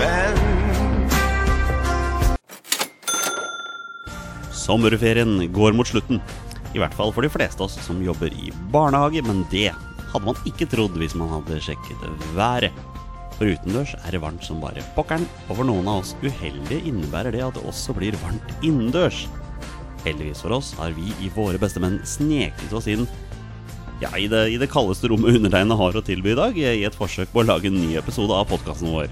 menn. Sommerferien går mot slutten. I hvert fall for de fleste av oss som jobber i barnehage, men det hadde man ikke trodd hvis man hadde sjekket været. For utendørs er det varmt som bare pokkeren, og for noen av oss uheldige innebærer det at det også blir varmt innendørs. Heldigvis for oss har vi i Våre bestemenn sneket oss inn ja, i det, i det kaldeste rommet undertegnede har å tilby i dag, i et forsøk på å lage en ny episode av podkasten vår.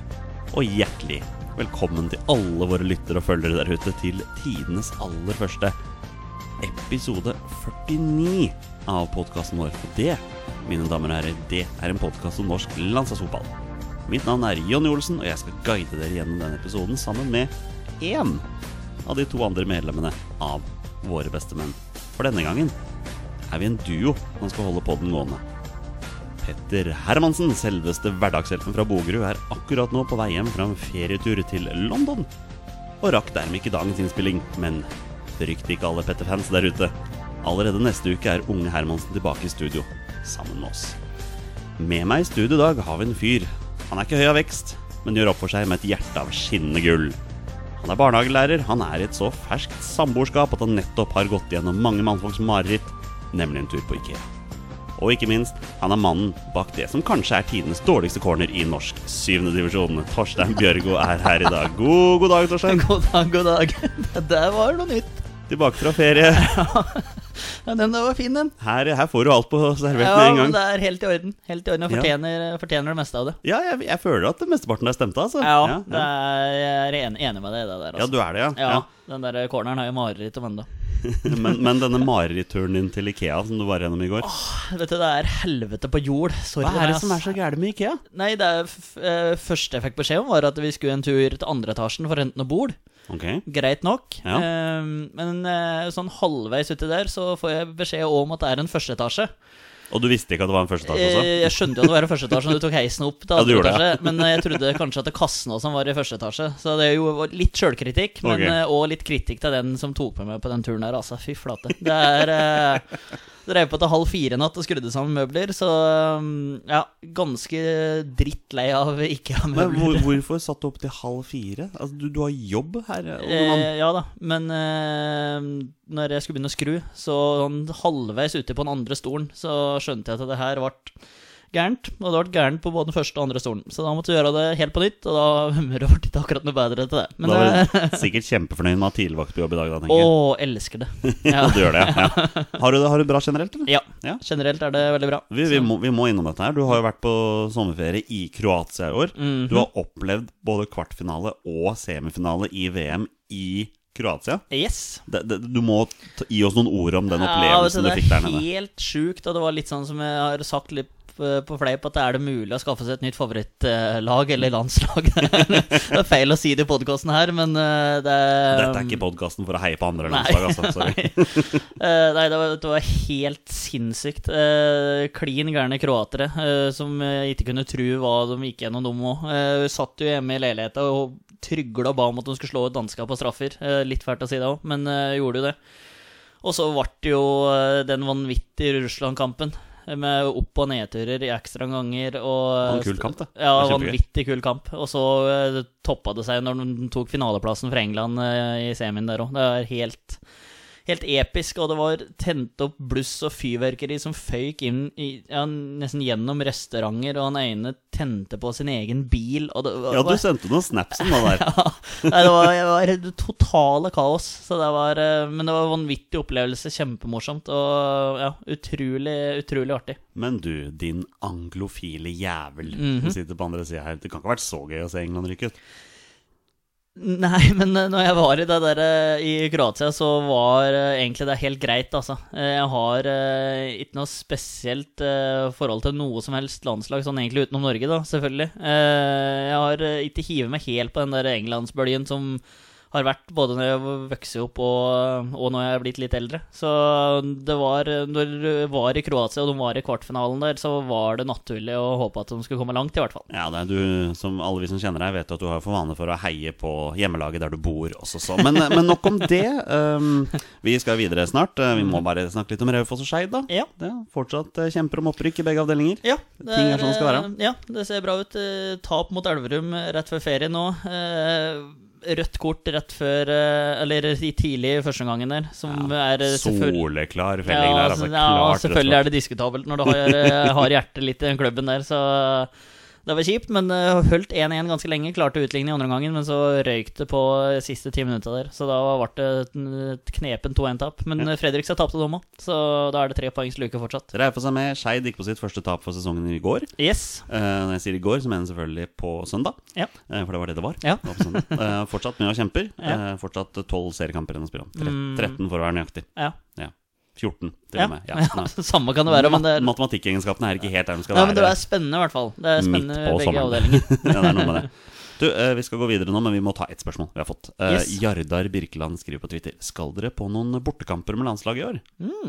Og hjertelig velkommen til alle våre lyttere og følgere der ute til tidenes aller første episode 49 av podkasten vår. Og det, mine damer og herrer, det er en podkast om norsk landslagsfotball. Mitt navn er Jonny Olsen, og jeg skal guide dere gjennom denne episoden sammen med én av de to andre medlemmene av Våre bestemenn. For denne gangen er vi en duo som skal holde podden gående. Petter Hermansen, selveste hverdagshelten fra Bogerud, er akkurat nå på vei hjem fra en ferietur til London. Og rakk dermed ikke dagens innspilling, men frykt ikke alle Petter-fans der ute. Allerede neste uke er unge Hermansen tilbake i studio, sammen med oss. Med meg i studio i dag har vi en fyr. Han er ikke høy av vekst, men gjør opp for seg med et hjerte av skinnende gull. Han er barnehagelærer, han er i et så ferskt samboerskap at han nettopp har gått gjennom mange mannfolks mareritt, nemlig en tur på Ikea. Og ikke minst, han er mannen bak det som kanskje er tidenes dårligste corner i norsk syvende divisjon. Torstein Bjørgo er her i dag. God, god dag, Torstein. God dag, god dag. Det der var noe nytt. Tilbake fra ferie. Ja, den der var fin, den. Her, her får du alt på servert med Ja, en men gang. det er helt i orden. Helt i orden, og Ja. fortjener, eh, fortjener det meste av det. Ja, jeg, jeg føler at mesteparten der stemte, altså. Ja, ja, Det er, jeg er en- enig med deg i det der. Ja, Altså. du er det, ja. Ja, Den der corneren har jeg mareritt om ennå. ja. Men, men denne mareritturen din til Ikea som du var gjennom i går Vet du, det er helvete på jord. Sorry. Hva til er meg, det som ass. er så gærent med Ikea? Nei, det er f eh, første jeg fikk beskjed om, var at vi skulle en tur til andre etasjen for å hente noe bord. Ok, Greit nok. Ja. Eh, men eh, sånn halvveis uti der så får jeg beskjed om at det er en første etasje. Og du visste ikke at det var en første etasje Eh, også? Jeg skjønte jo at det var i første etasje når du tok heisen opp til Ja, du andre gjorde det, etasje, men eh, jeg trodde kanskje at det kassen også var i første etasje. Så det er jo litt sjølkritikk, men Ok. eh, også litt kritikk til den som tok med meg på den turen her, altså. Fy flate. Det er eh, Drev på til halv fire i natt og skrudde sammen møbler, så mm, ja, ganske drittlei av ikke å ha Men møbler. hvor, hvorfor satt du opp til halv fire? Altså, du, du har jobb her? unge mann. Eh, ja da, men eh, når jeg skulle begynne å skru, så sånn halvveis ute på den andre stolen, så skjønte jeg at det her ble gærent. Og det ble gærent på både den første og andre stolen, så da måtte vi gjøre det helt på nytt. Og da humøret ble ikke akkurat noe bedre til det. Men da det, var du sikkert kjempefornøyd med å ha tidligvakt på jobb i dag, da, å, tenker jeg. elsker det. Ja, Du gjør det, ja. ja. Har du det har du det bra generelt, eller? ja. Ja. Generelt er det veldig bra. Vi, vi, må, vi må innom dette her. Du har jo vært på sommerferie i Kroatia i år. Mhm. Du har opplevd både kvartfinale og semifinale i VM i Kroatia. Yes. Det, det, du må ta, gi oss noen ord om den Ja, vet opplevelsen du fikk der Det nede. er helt sjukt, og det var litt sånn som jeg har sagt litt eh, på fleip, at er det mulig å skaffe seg et nytt favorittlag eh, eller landslag? det er feil å si det i podkasten her, men eh, det Dette er ikke podkasten for å heie på andre Nei. landslag, altså. Sorry. Eh, nei, det var, det var helt sinnssykt. Eh, klin gærne kroatere eh, som eh, ikke kunne tru hva de gikk gjennom, dem òg. Uh, satt jo hjemme i leiligheta og trygla og ba om at de skulle slå ut danska på straffer. Eh, litt fælt å si det òg, men eh, gjorde jo det. Og så ble det jo eh, den vanvittige Russland-kampen. eh, Med opp- og nedturer i ekstra ganger. Og, eh, Det var en kul kamp, det. Ja, Det var kjempegøy. vanvittig kul kamp. Og så eh, toppa det seg når de tok finaleplassen for England eh, i semien der òg. Det er helt helt episk, og det var tent opp bluss og fyrverkeri som føyk inn i, ja, nesten gjennom restauranter, og han ene tente på sin egen bil, og det var Ja, du sendte noen snaps om det der. ja, nei, det var, det var det totale kaos. Så det var, eh, men det var en vanvittig opplevelse. Kjempemorsomt. Og ja, utrolig, utrolig artig. Men du, din anglofile jævel Mhm. som sitter på andre sida her. Det kan ikke ha vært så gøy å se England rykke ut. Nei, men eh, når jeg var i det der eh, i Kroatia, så var eh, egentlig det helt greit, altså. Eh, Jeg har eh, ikke noe spesielt eh, forhold til noe som helst landslag, sånn egentlig utenom Norge, da, selvfølgelig. Eh, Jeg har eh, ikke hivet meg helt på den der englandsbølgen som har vært både når jeg vokste opp og, og når jeg er blitt litt eldre. Så det var eh, Når du var i Kroatia, og de var i kvartfinalen der, så var det naturlig å håpe at de skulle komme langt, i hvert fall. Ja, det er du, som alle vi som kjenner deg, vet at du har for vane for å heie på hjemmelaget der du bor også, så. Men, eh, men nok om det. Um, vi skal videre snart. Uh, Vi må bare snakke litt om Raufoss og Skeid, da. Ja. Det er fortsatt eh, kjemper om opprykk i begge avdelinger. Ja, Ting er sånn det skal være. eh, Ja, det ser bra ut. Eh, Tap mot Elverum eh, rett før ferie nå. Eh, Rødt kort rett før eh, Eller i tidlig i første omgangen der, som er eh, selvfølgelig Soleklar ja, felling der, altså, altså. ja, Klart selvfølgelig er det diskutabelt når du har, eh, har hjertet litt i den klubben der, så det var kjipt. Men eh, holdt 1-1 ganske lenge, klarte å utligne i andre omgangen, men så røyk det på eh, siste ti minutta der. Så da ble det et- et knepen 2-1-tap. Men eh, Fredrikstad tapte dem òg, så da er det tre poengs luke fortsatt. Raufoss er med. Skeid gikk på sitt første tap for sesongen i går. Yes. Eh, når jeg sier i går, så mener jeg selvfølgelig på søndag. Ja. Eh, for det var det det var. Ja. Det var på søndag. Eh, fortsatt mye og kjemper. Ja. Eh, fortsatt tolv seriekamper igjen å spille om. Tre, Mm. 13 for å være nøyaktig. Ja. 14, til Ja. og med. Ja, nei. Samme kan det være, men det er, Mat- Matematikkegenskapene er ikke helt der de skal ja, men det være. er spennende i hvert fall. Det er spennende i Midt på begge sommeren. avdelinger. ja, det er noe med det. Du, eh, Vi skal gå videre nå, men vi må ta ett spørsmål vi har fått. Eh, Yes. Jardar Birkeland skriver på Twitter Skal dere på noen bortekamper med landslaget i år.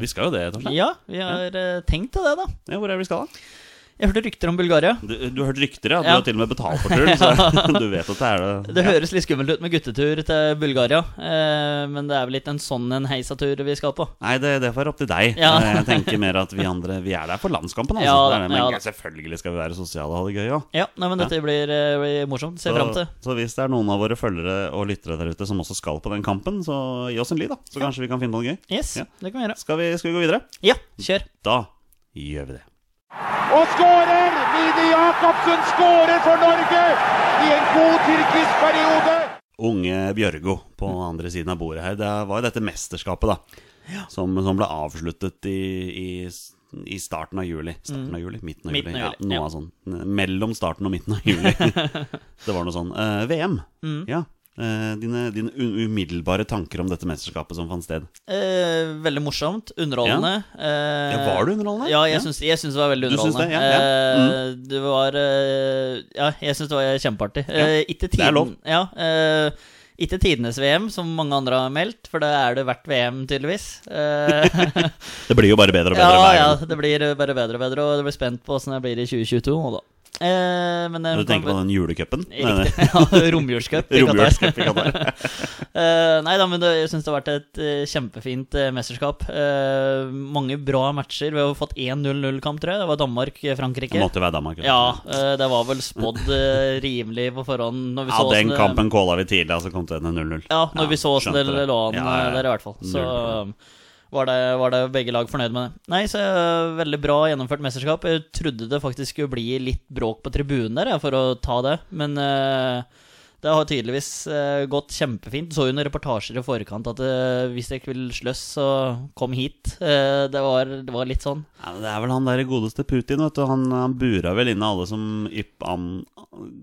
Vi skal jo det, Torstein. Mm. Ja, vi har eh, tenkt til det, da. Ja, hvor er vi skal da? Jeg hørte rykter om Bulgaria. Du, du har hørt rykter, ja. Du Ja. har til og med betalt for turen, så du vet at det er det. Det høres litt skummelt ut med guttetur til Bulgaria, eh, men det er vel ikke en sånn en heisatur vi skal på. Nei, det, det får være opp til deg. Ja. Eh, Jeg tenker mer at vi andre Vi er der for landskampen, altså. Ja, Det er det, men ja da. selvfølgelig skal vi være sosiale og ha det gøy òg. Ja, nei, men dette blir, eh, blir morsomt. Ser fram til. så hvis det er noen av våre følgere og lyttere der ute som også skal på den kampen, så gi oss en lyd, da. Så kanskje vi kan finne noe gøy. Yes, Ja. det kan vi gjøre. Skal vi, skal vi gå videre? Ja, kjør. Da gjør vi det. og skårer! Mini Jacobsen skårer for Norge i en god tyrkisk periode. Unge Bjørgo på Mm. den andre siden av bordet her. Det var jo dette mesterskapet, da. Som, som ble avsluttet i, i, i starten av juli. Starten av juli? Midten av Mm. Midten av juli. Ja, juli, noe ja. av sånn. Mellom starten og midten av juli. det var noe sånn. Eh, VM. Mm. Ja. Eh, dine, dine u- umiddelbare tanker om dette mesterskapet som fant sted. Eh, veldig morsomt. Underholdende. Eh, Ja, var det underholdende? Ja, jeg syns, jeg syns det var veldig Du syns underholdende. det, ja, ja. Eh, det var eh, Ja, jeg syns det var kjempeartig. Ja, Eh, ikke tiden, er lov. Ja, eh, ikke tidenes VM, som mange andre har meldt, for det er det hvert VM, tydeligvis. Eh, Det blir jo bare bedre og bedre ja, hver ja, gang. det blir bare bedre og bedre, og jeg blir spent på åssen det blir i 2022 nå, da. Eh, men eh, Du tenker på den julecupen? Riktig. Ja, Romjulscup i Qatar. Romjulscup i Qatar. Eh, nei da, men det, jeg syns det har vært et eh, kjempefint eh, mesterskap. Eh, mange bra matcher. Vi har jo fått 1-0-0-kamp, tror jeg. Det var Det Danmark-Frankrike. måtte jo være Danmark. Ja, eh, det var vel spådd eh, rimelig på forhånd. Når vi Ja, så den hvordan det- kampen kåla vi tidlig, altså kom til denne 0-0. Ja, når Ja, vi så åssen det skjønte det. lå an Ja, ja, ja. eh, der, i hvert fall. Så Null. eh, var det, var det begge lag fornøyd med det. Nei, så eh, veldig bra gjennomført mesterskap. Jeg trodde det faktisk skulle bli litt bråk på tribunen der, jeg, for å ta det, men eh, det har tydeligvis eh, gått kjempefint. Så jo noen reportasjer i forkant at eh, hvis dere ikke vil sløss, så kom hit. Eh, det, var, det var litt sånn. Ja, men det er vel han der godeste Putin, vet du. Han, han bura vel inne alle som ypp, han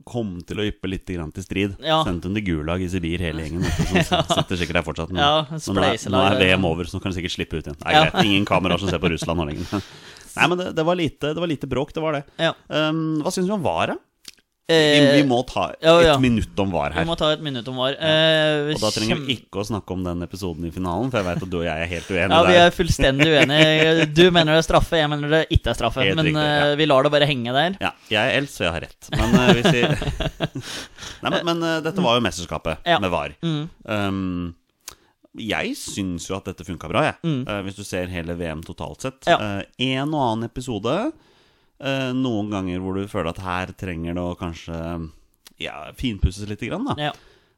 kom til å yppe litt grann til strid. Ja. Sendte dem til Gulag i Sibir, hele gjengen. Vet du, som sitter sikkert der fortsatt. Men, Ja, men nå, er, nå spleiselag. er VM over, så nå kan de sikkert slippe ut igjen. Nei, Ja. greit, Ingen kameraer som ser på Russland nå lenger. Nei, men det, det, var lite, det var lite bråk, det var det. Ja. Um, hva syns du om VAR, da? Vi, Eh, vi må ta et ja, ja. minutt om VAR vi her. må ta et minutt om var. Eh, Og da trenger kjem- vi ikke å snakke om den episoden i finalen, for jeg veit at du og jeg er helt Ja, uenige vi der. er fullstendig uenige. Du mener det er straffe, jeg mener det ikke er straffe. Helt men riktig, ja. eh, vi lar det bare henge der. Ja, jeg er eldst, så jeg har rett. Men, eh, hvis vi... Nei, men, men eh, dette var jo mesterskapet Ja. med VAR. Mm. Um, jeg syns jo at dette funka bra, jeg. Mm. Eh, hvis du ser hele VM totalt sett. Ja. Eh, en og annen episode. eh, noen ganger hvor du føler at her trenger det å kanskje ja, finpusses litt. Grann, da. Ja.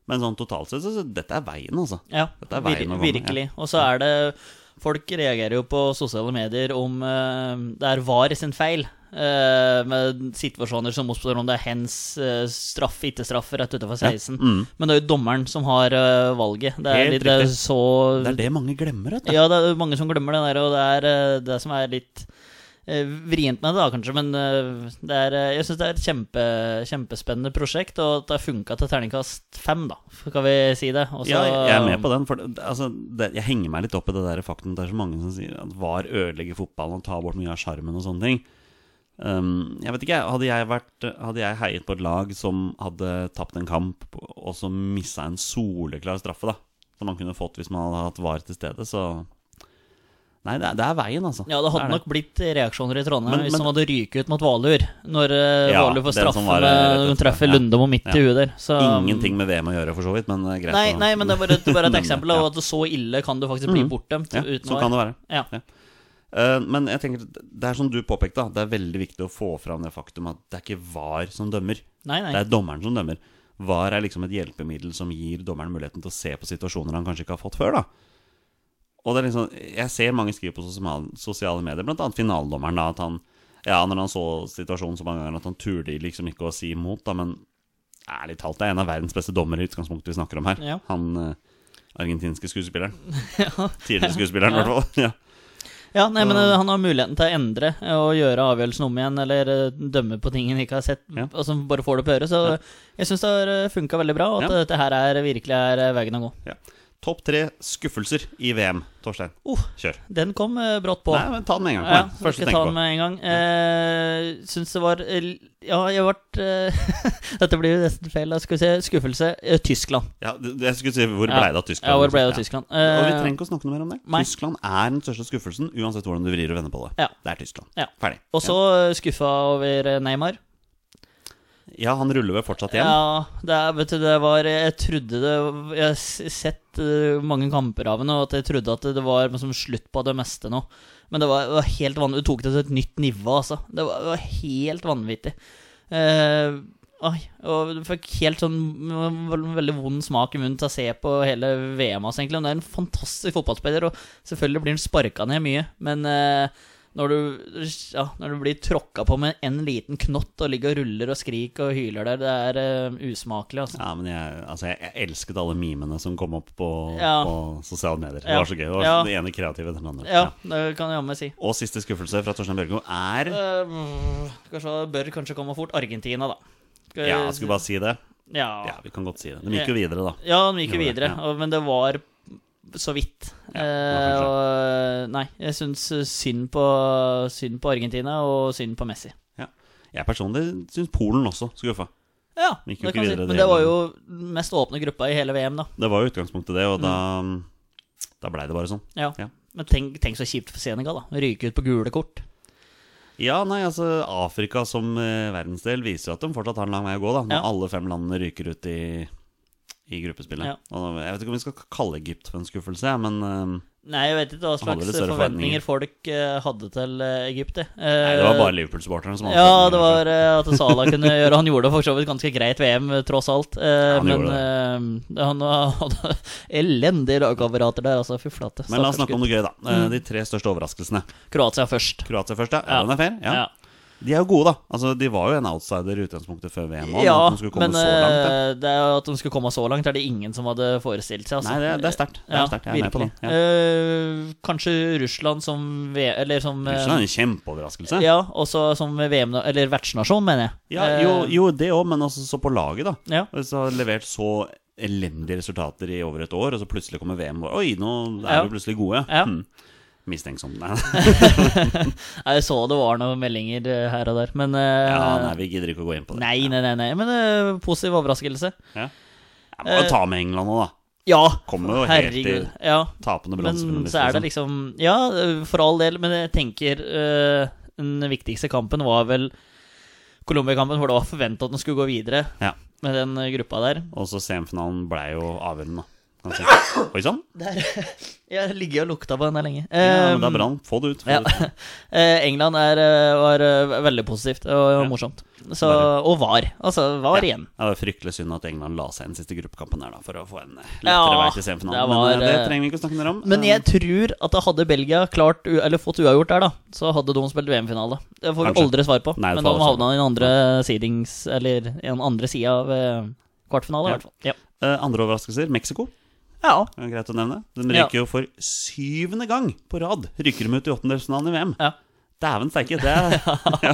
Men sånn totalt sett, så, så dette er veien, altså. ja. Dette er vir- veien å gå med, ja. virkelig. Og så er det Folk reagerer jo på sosiale medier om eh, det er VAR sin feil. eh, med situasjoner som oppstår om det er hens eh, straff, ikke straff, rett utenfor 16. Mm. Men det er jo dommeren som har eh, valget. Det er, Helt litt, det er riktig. så Det er det mange glemmer, vet du. Ja, det er mange som glemmer det der, og det er eh, det som er litt eh, vrient med det, da, kanskje. Men eh, det er, eh, jeg syns det er et kjempe, kjempespennende prosjekt, og at det har funka til terningkast fem, da, skal vi si det. Og så- Ja, jeg er med på den. For det, altså, det, jeg henger meg litt opp i det der faktum at det er så mange som sier at VAR ødelegger fotballen og tar bort mye av sjarmen og sånne ting. Um, jeg vet ikke, jeg, hadde jeg, vært, hadde jeg heiet på et lag som hadde tapt en kamp, og og så missa en soleklar straffe, da. Som han kunne fått hvis man hadde hatt VAR til stede, så Nei, det er, det er veien, altså. Ja, det hadde er nok blitt reaksjoner i Trondheim Men- hvis men- han hadde ryket ut mot Valur. Når eh, Ja, Valur får den straffe som var, eh, rett med etter, Hun treffer ja. Lundemo midt i Ja. huet der. Så, Ingenting med VM å gjøre, for så vidt, men eh, greit. um, Nei, å- nei, men det er bare, det er bare et Men, eksempel ja. av at så ille kan du faktisk bli Mhm. bortdømt. Ja, uten sånn å- kan det være. Ja. Eh, men jeg tenker, det er som du påpekte, da, det er veldig viktig å få fram det faktum at det er ikke VAR som dømmer. Nei, nei. Det er dommeren som dømmer. VAR er liksom et hjelpemiddel som gir dommeren muligheten til å se på situasjoner han kanskje ikke har fått før. da Og det er liksom, Jeg ser mange skrive på sosial- sosiale medier, bl.a. finaledommeren, da, at han ja, når han så situasjonen så mange ganger at han turde liksom ikke å si imot, da, men ærlig talt, det er en av verdens beste dommere i utgangspunktet vi snakker om her. Ja. Han eh, argentinske skuespilleren. Tidligere skuespilleren, i Ja. hvert fall. Ja. Ja, nei, men Så- eh, han har muligheten til å endre eh, og gjøre avgjørelsen om igjen, eller eh, dømme på ting han ikke har sett, Ja. og som bare får det på øret. Så Ja. jeg syns det har funka veldig bra, og at Ja. dette her er, virkelig er eh, veien å gå. Topp tre skuffelser i VM, Torstein. Oh, Kjør. den kom eh, brått på. Nei, men Ta den med en gang. Ja, Kom igjen. skal Første ikke du ta tenker den på. med en gang. Eh, syns det var eh, l- Ja, jeg ble eh, Dette blir jo nesten feil, da. Skal vi se. Skuffelse. Eh, Tyskland. Ja, du- jeg skulle si hvor Ja. blei det av Tyskland? Ja, hvor ble det av Ja. Tyskland? Og vi Eh, trenger ikke å snakke noe mer om det. Nei. Tyskland er den største skuffelsen, uansett hvordan du vrir og vender på det. Ja. Det er Tyskland. Ja. Ferdig. og så eh, skuffa over eh, Neymar. Ja, han ruller vel fortsatt igjen. Ja, det, er, vet du, det var Jeg trodde det Jeg har s- sett eh, mange kamper av henne, og at jeg trodde at det var liksom, slutt på det meste nå. Men det var, det var helt vanvittig. Du tok det til et nytt nivå, altså. Det var, det var helt vanvittig. Eh, Oi, og du fikk helt sånn mm, vel- veldig vond smak i munnen til å se på hele VM hans, egentlig. Han er en fantastisk fotballspiller, og selvfølgelig blir han sparka ned mye, men eh, når du, ja, når du blir tråkka på med en liten knott og ligger og ruller og skriker og hyler der, det er eh, usmakelig, altså. Ja, men jeg, altså, jeg, jeg elsket alle memene som kom opp på, Ja. på sosiale medier. Det Ja. var så gøy. Det var Ja. Den ene kreative etter den andre. Ja, Ja. det kan jeg jammen si. Og siste skuffelse fra Torstein Bjørgo er Uh, kanskje, bør kanskje komme fort Argentina, da. Skal- Ja, jeg skulle bare si det. ja. Ja, vi kan godt si det. De gikk jo videre, da. Ja, de gikk jo Gjorde det, videre, ja. og- men det var så vidt. Ja, eh, det var og, nei, jeg syns synd på, synd på Argentina og synd på Messi. Ja. Jeg personlig syns Polen også skuffa. Ja, De det gikk jo ikke kan jeg si. videre, Men de det var heller. jo mest åpne gruppa i hele VM, da. Det var jo utgangspunktet, det, og da, Mm. da blei det bare sånn. Ja. Ja. Men tenk, tenk så kjipt for Senegal, da. Ryke ut på gule kort. Ja, nei, altså Afrika som eh, verdensdel viser jo at de fortsatt har en lang vei å gå, da. Når Ja. alle fem landene ryker ut i, i gruppespillet. Ja. Og jeg vet ikke om vi skal kalle Egypt for en skuffelse, ja, men eh, Nei, jeg vet ikke hva Han hadde slags litt større forventninger forventninger. folk eh, hadde til eh, Egypt. jeg. nei, Eh, det var bare Liverpool-supporterne som hadde Ja, forventninger, det var eh, at Salah kunne gjøre Han gjorde for så vidt ganske greit VM, eh, tross alt. Eh, han men gjorde eh, han hadde elendige lagkamerater der, altså. Fy flate. kanskje. Men la oss snakke om noe gøy, da. Eh, De tre største overraskelsene. Kroatia først. Kroatia først, ja. Mm. Ja. ja. Den er fair. Ja. Ja, De er jo gode, da. Altså, De var jo en outsider i utgangspunktet før VM. også, ja men at de skulle komme men så langt, ja. eh, det er at de skulle komme så langt, er det ingen som hadde forestilt seg. Altså. Nei, det, er- det er sterkt. Det Ja, er sterkt. Jeg er med på virkelig. det. Ja. Eh, kanskje Russland som v Eller som eh, Russland er sånn en kjempeoverraskelse. Ja, også som VM Eller vertsnasjon, mener jeg. Ja, Eh, jo, jo det òg, men også så på laget, da. Ja. Og Så har levert så elendige resultater i over et år, og så plutselig kommer VM hvor Oi, nå er Ja. vi plutselig gode. Ja. Hmm. Mistenksom. Nei, Jeg så det var noen meldinger eh, her og der, men eh, ja, nei, vi gidder ikke å gå inn på det. Nei, nei, nei, nei. men eh, positiv overraskelse. Jeg må jo ta med England nå, da. Ja, Kommer jo helt i herregud. Ja, tapende men bronsefinalist. så er det liksom Ja, eh, for all del, men jeg tenker eh, den viktigste kampen var vel Colombia-kampen, hvor det var forventa at den skulle gå videre Ja. med den eh, gruppa der. Og så semifinalen blei jo avgjørende, da. kan jeg si. Oi sann! der jeg ligger og lukta på den der lenge. Ja, men Eh, da brann. Få det ut. Få ja. det ut. Eh, England er, eh, var eh, veldig positivt og morsomt. Så, og var. Altså, var igjen. Ja, det var fryktelig synd at England la seg inn siste gruppekampen der, da, for å få en eh, lettere Ja, vei til det semifinalen. var, men eh, eh, det trenger vi ikke å snakke mer om. Men Eh, jeg tror at hadde Belgia klart, u- eller fått uavgjort der, da, så hadde de spilt VM-finale. Det får vi Kanskje. aldri svar på. Nei, det men får da vi aldri havna han i den andre sidings, eller i den andre sida av eh, kvartfinale, i Ja. hvert fall. Ja. eh, andre overraskelser Mexico. ja. Det er greit å nevne. De Ja. ryker jo for syvende gang på rad. Rykker de ut i åttendedelsfinalen i VM. Ja. Dæven steike. Det er,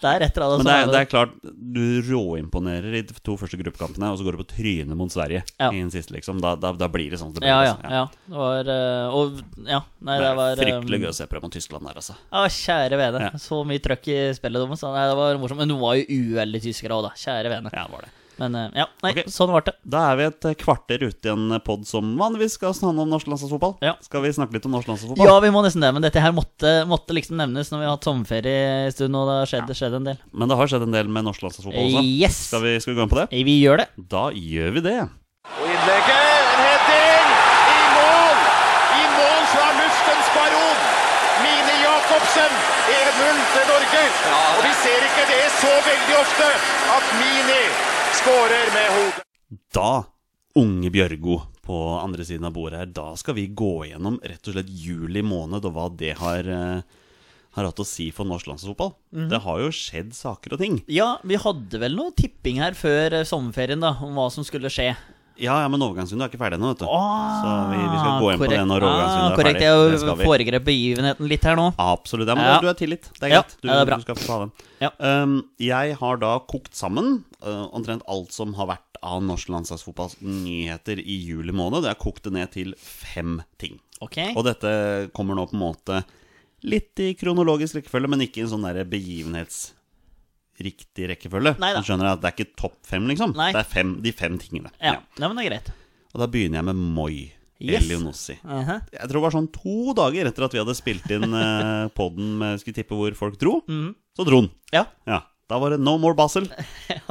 Det er rett og slett men det er, sånn. det er klart, du råimponerer i de to første gruppekampene, og så går du på trynet mot Sverige Ja. i den siste, liksom. Da, da, da blir det sånn. som Det blir, ja, ja, altså. ja. Det var eh, Og ja, nei, det, Det var er fryktelig eh, gøy å se på mot Tyskland der, altså. Ja, kjære vene. Ja. Så mye trøkk i spillet deres. så Nei, det var morsomt. Men hun var jo uheldig tyskere òg, da. Kjære vene. Ja, det var det. Men eh, ja, nei, Ok. sånn ble det. Da er vi et kvarter ute i en pod som vanligvis skal handle om norsk landslagsfotball. Ja. Skal vi snakke litt om norsk landslagsfotball? Ja, vi må nesten nevne dette her. Måtte, måtte liksom nevnes når vi har hatt sommerferie en stund, og det har skjedd, skjedd en del. Men det har skjedd en del med norsk landslagsfotball også. Yes! Skal vi, skal vi gå inn på det? Eh, Vi gjør det. Da gjør vi det. Og innlegget, en heading, i mål! I mål fra luftens baron! Mine Jacobsen, 1-0 til Norge. Og vi ser ikke det så veldig ofte at Mini skårer med hodet. Da, unge Bjørgo på andre siden av bordet her, da skal vi gå gjennom rett og slett juli måned og hva det har, eh, har hatt å si for norsk landslagsfotball. Mhm. Det har jo skjedd saker og ting. Ja, vi hadde vel noe tipping her før eh, sommerferien, da, om hva som skulle skje. Ja, ja, men overgangsvinduet er ikke ferdig ennå, vet du. Ah, Så vi, vi skal gå inn på det når overgangsvinduet er korrekt. ferdig. Det Korrekt. skal vi. Jeg foregrep begivenheten litt her nå. Absolutt. Ja, men Ja. du er tilgitt. Det er Ja, greit. Du, ja, det er bra. du skal få ta den. Ja. Um, jeg har da kokt sammen uh, omtrent alt som har vært av norsk landslagsfotballs nyheter i juli måned. Jeg har kokt det ned til fem ting. Ok. Og dette kommer nå på en måte litt i kronologisk rekkefølge, men ikke i en sånn der begivenhetsriktig rekkefølge. Neida. Du skjønner at det er ikke topp fem, liksom. Nei. Det er fem, de fem tingene. Ja, Ja. Nei, men det er greit. Og da begynner jeg med Moi. Yes. Elionossi. Mhm. Jeg tror det var sånn to dager etter at vi hadde spilt inn eh, podden med Skulle tippe hvor folk dro, Mm. så dro han. Ja. Ja. Da var det No More Basel.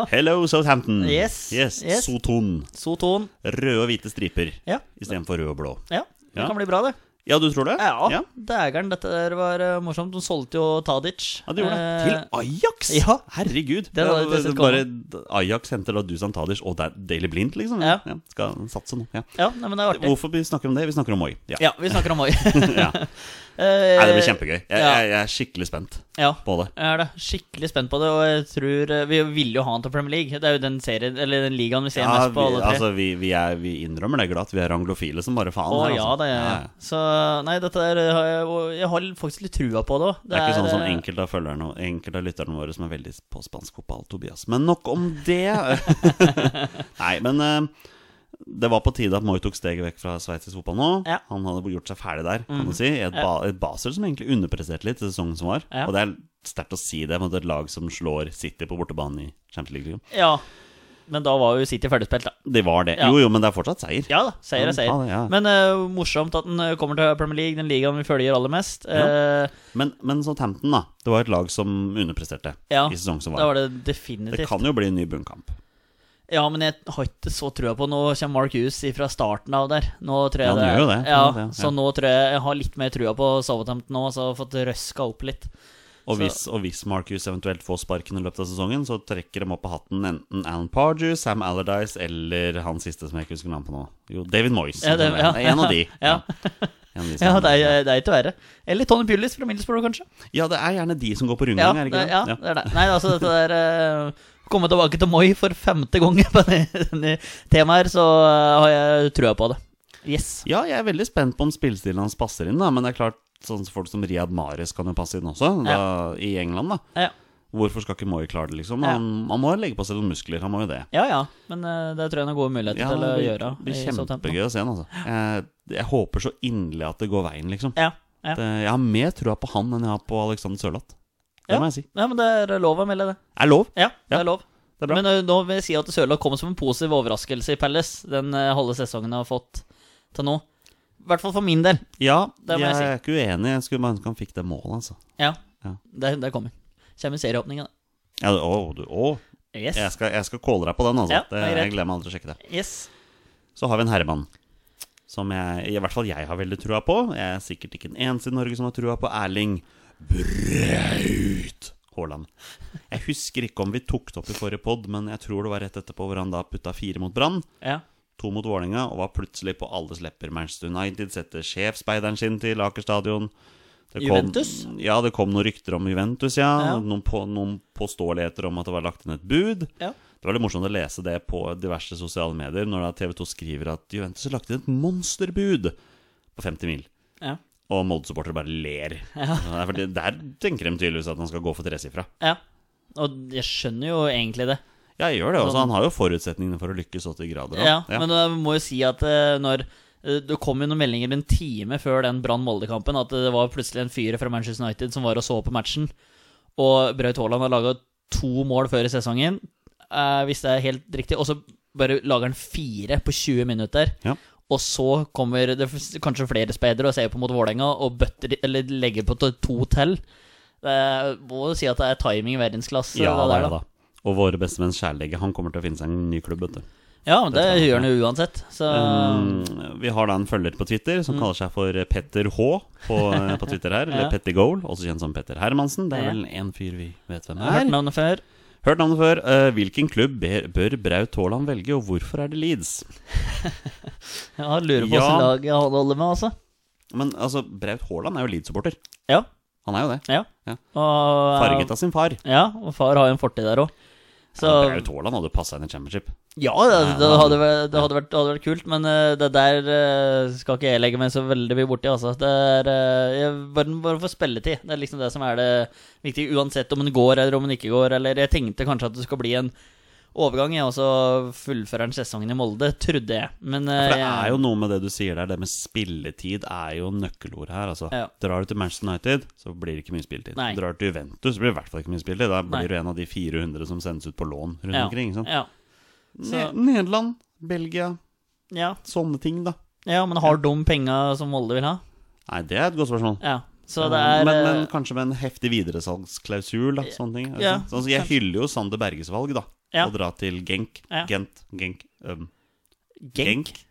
Hello Southampton. Yes, Yes. yes. Soton. Soton. Røde og hvite striper Ja. istedenfor rød og blå. ja. Det Ja. kan bli bra, det. Ja, du tror det? Ja, ja. dægeren. Dette der var eh, morsomt. De solgte jo Tadic. Ja, det gjorde det. Eh, Til Ajax! ja. Herregud. Det hadde jeg ikke sett bare Ajax henter da Dusan Tadic og Da- Daily Blind, liksom. Ja. Skal satse nå. Ja. Ja, nei, men det er artig. Hvorfor vi snakker om det? Vi snakker om Moi. Ja. Ja, vi snakker om Eh, Oi. Ja. Nei, det blir kjempegøy. Jeg, ja. jeg, jeg er skikkelig spent Ja. på det. Jeg er da skikkelig spent på det, og jeg tror eh, Vi ville jo ha han til Premier League. Det er jo den serien, eller den ligaen vi ser Ja, mest vi, på, alle tre. altså, vi, vi, er, vi innrømmer det glatt. Vi er anglofile som bare faen. Å her, ja, altså. det er Ja, ja. Så nei, dette er eh, har jeg- og Jeg har faktisk litt trua på det eh, òg. Det er ikke sånn som enkelte av følgerne og enkelte av lytterne våre som er veldig på spansk fotball, Tobias. Men nok om det. Nei, men eh, det var på tide at Moi tok steget vekk fra sveitsisk fotball nå. Ja. Mm. Han hadde gjort seg ferdig der, kan du si. I et, ba et Basel som egentlig underpresterte litt i sesongen som var. Ja. Og det er sterkt å si det mot et lag som slår City på bortebane i Champions League. liksom. Ja. Men da var jo City ferdigspilt, da. Det var det. Ja. Jo, jo, men det er fortsatt seier. Ja da, seier er Ja, seier. faen, ja. Men eh, morsomt at den eh, kommer til Premier League, den ligaen vi følger aller mest. Eh, Men, men Southampton, da. Det var et lag som underpresterte Ja, i sesongen som Da var. var det Det, definitivt. kan jo bli en ny bunnkamp. Ja, men jeg har ikke så trua på Nå kommer Mark Hughes fra starten av der. Nå tror jeg Ja, han er- gjør jo det. Ja, Han gjør det, ja. Så nå tror jeg jeg har litt mer trua på Southampton nå, så jeg har fått røska opp litt. Og Så- hvis, og hvis Marcus eventuelt får sparken i løpet av sesongen, så trekker de opp av hatten enten Alan Pardew, Sam Allardyce eller han siste som jeg ikke husker navnet på nå. Jo, David Moyes. Ja, det- ja. Det er En av de. Ja. En av de som- Ja, det er, eh, det er ikke verre. Eller Tony Pulis fra Middlesbrough, kanskje. ja, det er gjerne de som går på Ja, rundgang, er det det, ikke det? ja, det er det. Nei, altså, dette der eh, Komme tilbake til Moi for femte gang på denne temaet her, så eh, har jeg trua på det. Yes. Ja, jeg er veldig spent på om spillestilen hans passer inn, da. Men det er klart, sånn folk som Riyad Mahrez kan jo passe inn også, da, i England, da. Ja, Hvorfor skal ikke Moy klare det, liksom? Ja. Han, han må legge på seg noen muskler, han må jo det. ja. ja. Men eh, det tror jeg er noen gode muligheter til å blir- gjøre. blir i Southampton. kjempegøy å se han, altså. Jeg, jeg håper så inderlig at det går veien, liksom. Ja, ja. Det- Jeg har mer trua på han enn jeg har på Alexander Sørloth. Det Ja. må jeg si. ja, men det er lov å melde det. Er lov. Ja, det Ja, er lov. er bra. Men ø, nå vil jeg si at Sørloth kommer som en positiv overraskelse i Palace den ø, halve sesongen jeg har fått til nå. I hvert fall for min del. Ja, Det må jeg, jeg si. er ikke uenig. Jeg skulle bare ønske han fikk det målet, altså. Ja, Ja. det, det kommer. Kommer serieåpninga, da. Ja, det- å, du, å. Yes. Jeg skal, jeg skal calle deg på den, altså. Ja, det, det er greit. jeg gleder meg aldri til å sjekke det. yes. Så har vi en herremann som jeg, i hvert fall jeg har veldig trua på. Jeg er sikkert ikke den eneste i Norge som har trua på Erling Braut Haaland. Jeg husker ikke om vi tok det opp i forrige pod, men jeg tror det var rett etterpå hvor han da putta fire mot Brann. Ja. to mot Vålinga og var plutselig på alles lepper. Manchester United setter sjefsspeideren sin til Aker stadion. Det Juventus? Ja, det kom noen rykter om Juventus, ja. Ja. Noen, på, noen påståeligheter om at det var lagt inn et bud. Ja. Det var litt morsomt å lese det på diverse sosiale medier når da TV2 skriver at Juventus har lagt inn et monsterbud på 50 mil. Ja. Og Molde-supportere bare ler. Ja, for det- Der tenker de tydeligvis at han skal gå for tresifra. ja. Og jeg skjønner jo egentlig det. Ja, jeg gjør det. Også. Han har jo forutsetningene for å lykkes så til grader. da. Sånn. Ja, Men jeg må jo si at ø, når ø, det kom jo noen meldinger en time før den Brann-Molde-kampen at det var plutselig en fyr fra Manchester United som var og så på matchen. Og Braut Haaland har laga to mål før i sesongen. eh, hvis det er helt riktig. Og så bare lager han fire på 20 minutter. Ja. Og så kommer det f- kanskje flere speidere og ser på mot Vålerenga og bøtter, eller legger på to- to til. Det må jo si at det er timing i verdensklasse. ja, det det der, er da. det, da. Og våre bestemenns kjærligge, han kommer til å finne seg en ny klubb, vet du. Ja, men det gjør han jo uansett. Så Um, vi har da en følger på Twitter som kaller seg for Petter H på, eh, på Twitter her. Eller Mm. Ja. Petter Goal, også kjent som Petter Hermansen. Det er Ja. vel en fyr vi vet hvem jeg har hørt er. navnet før. Hørt navnet før. Eh, hvilken klubb ber, bør Braut Haaland velge, og hvorfor er det Leeds? Ja, lurer på Ja. åssen lag han holder med, altså. Men altså, Braut Haaland er jo Leeds-supporter. Ja. Han er jo det. ja. Ja. Og, eh, Farget av sin far. Ja, og far har jo en fortid der òg. Så Ja, Braut Haaland hadde passa inn i championship. ja, det, det, hadde, vært, det, hadde, vært, det hadde vært kult, men eh, det der eh, skal ikke jeg legge meg så veldig mye borti, altså. Det er eh, jeg- bare, bare for spilletid. Det er liksom det som er det viktige, uansett om den går eller om den ikke går. Eller jeg tenkte kanskje at det skal bli en overgang, jeg, og så fullfører han sesongen i Molde, trodde jeg. Men eh, For det er jo noe med det du sier der, det med spilletid er jo nøkkelordet her. Altså, Ja. Drar du til Manchester United, så blir det ikke mye spilletid. Nei. Drar du til Juventus, så blir det i hvert fall ikke mye spilletid. Da Nei. blir du en av de 400 som sendes ut på lån rundt ja, Eh, omkring. ikke sant? Ja. Ne Nederland, Belgia, ja. sånne ting, da. Ja, men har de penga som Molde vil ha? Nei, det er et godt spørsmål. Ja. Så det er men, eh, men kanskje med en heftig videresalgsklausul, da. Sånne ting. er det Ja, sant? sånn, så jeg kanskje. hyller jo Sander Berges valg, da. Ja. Å dra til Genk. Ja. Gent. Genk. Um, Genk. Genk.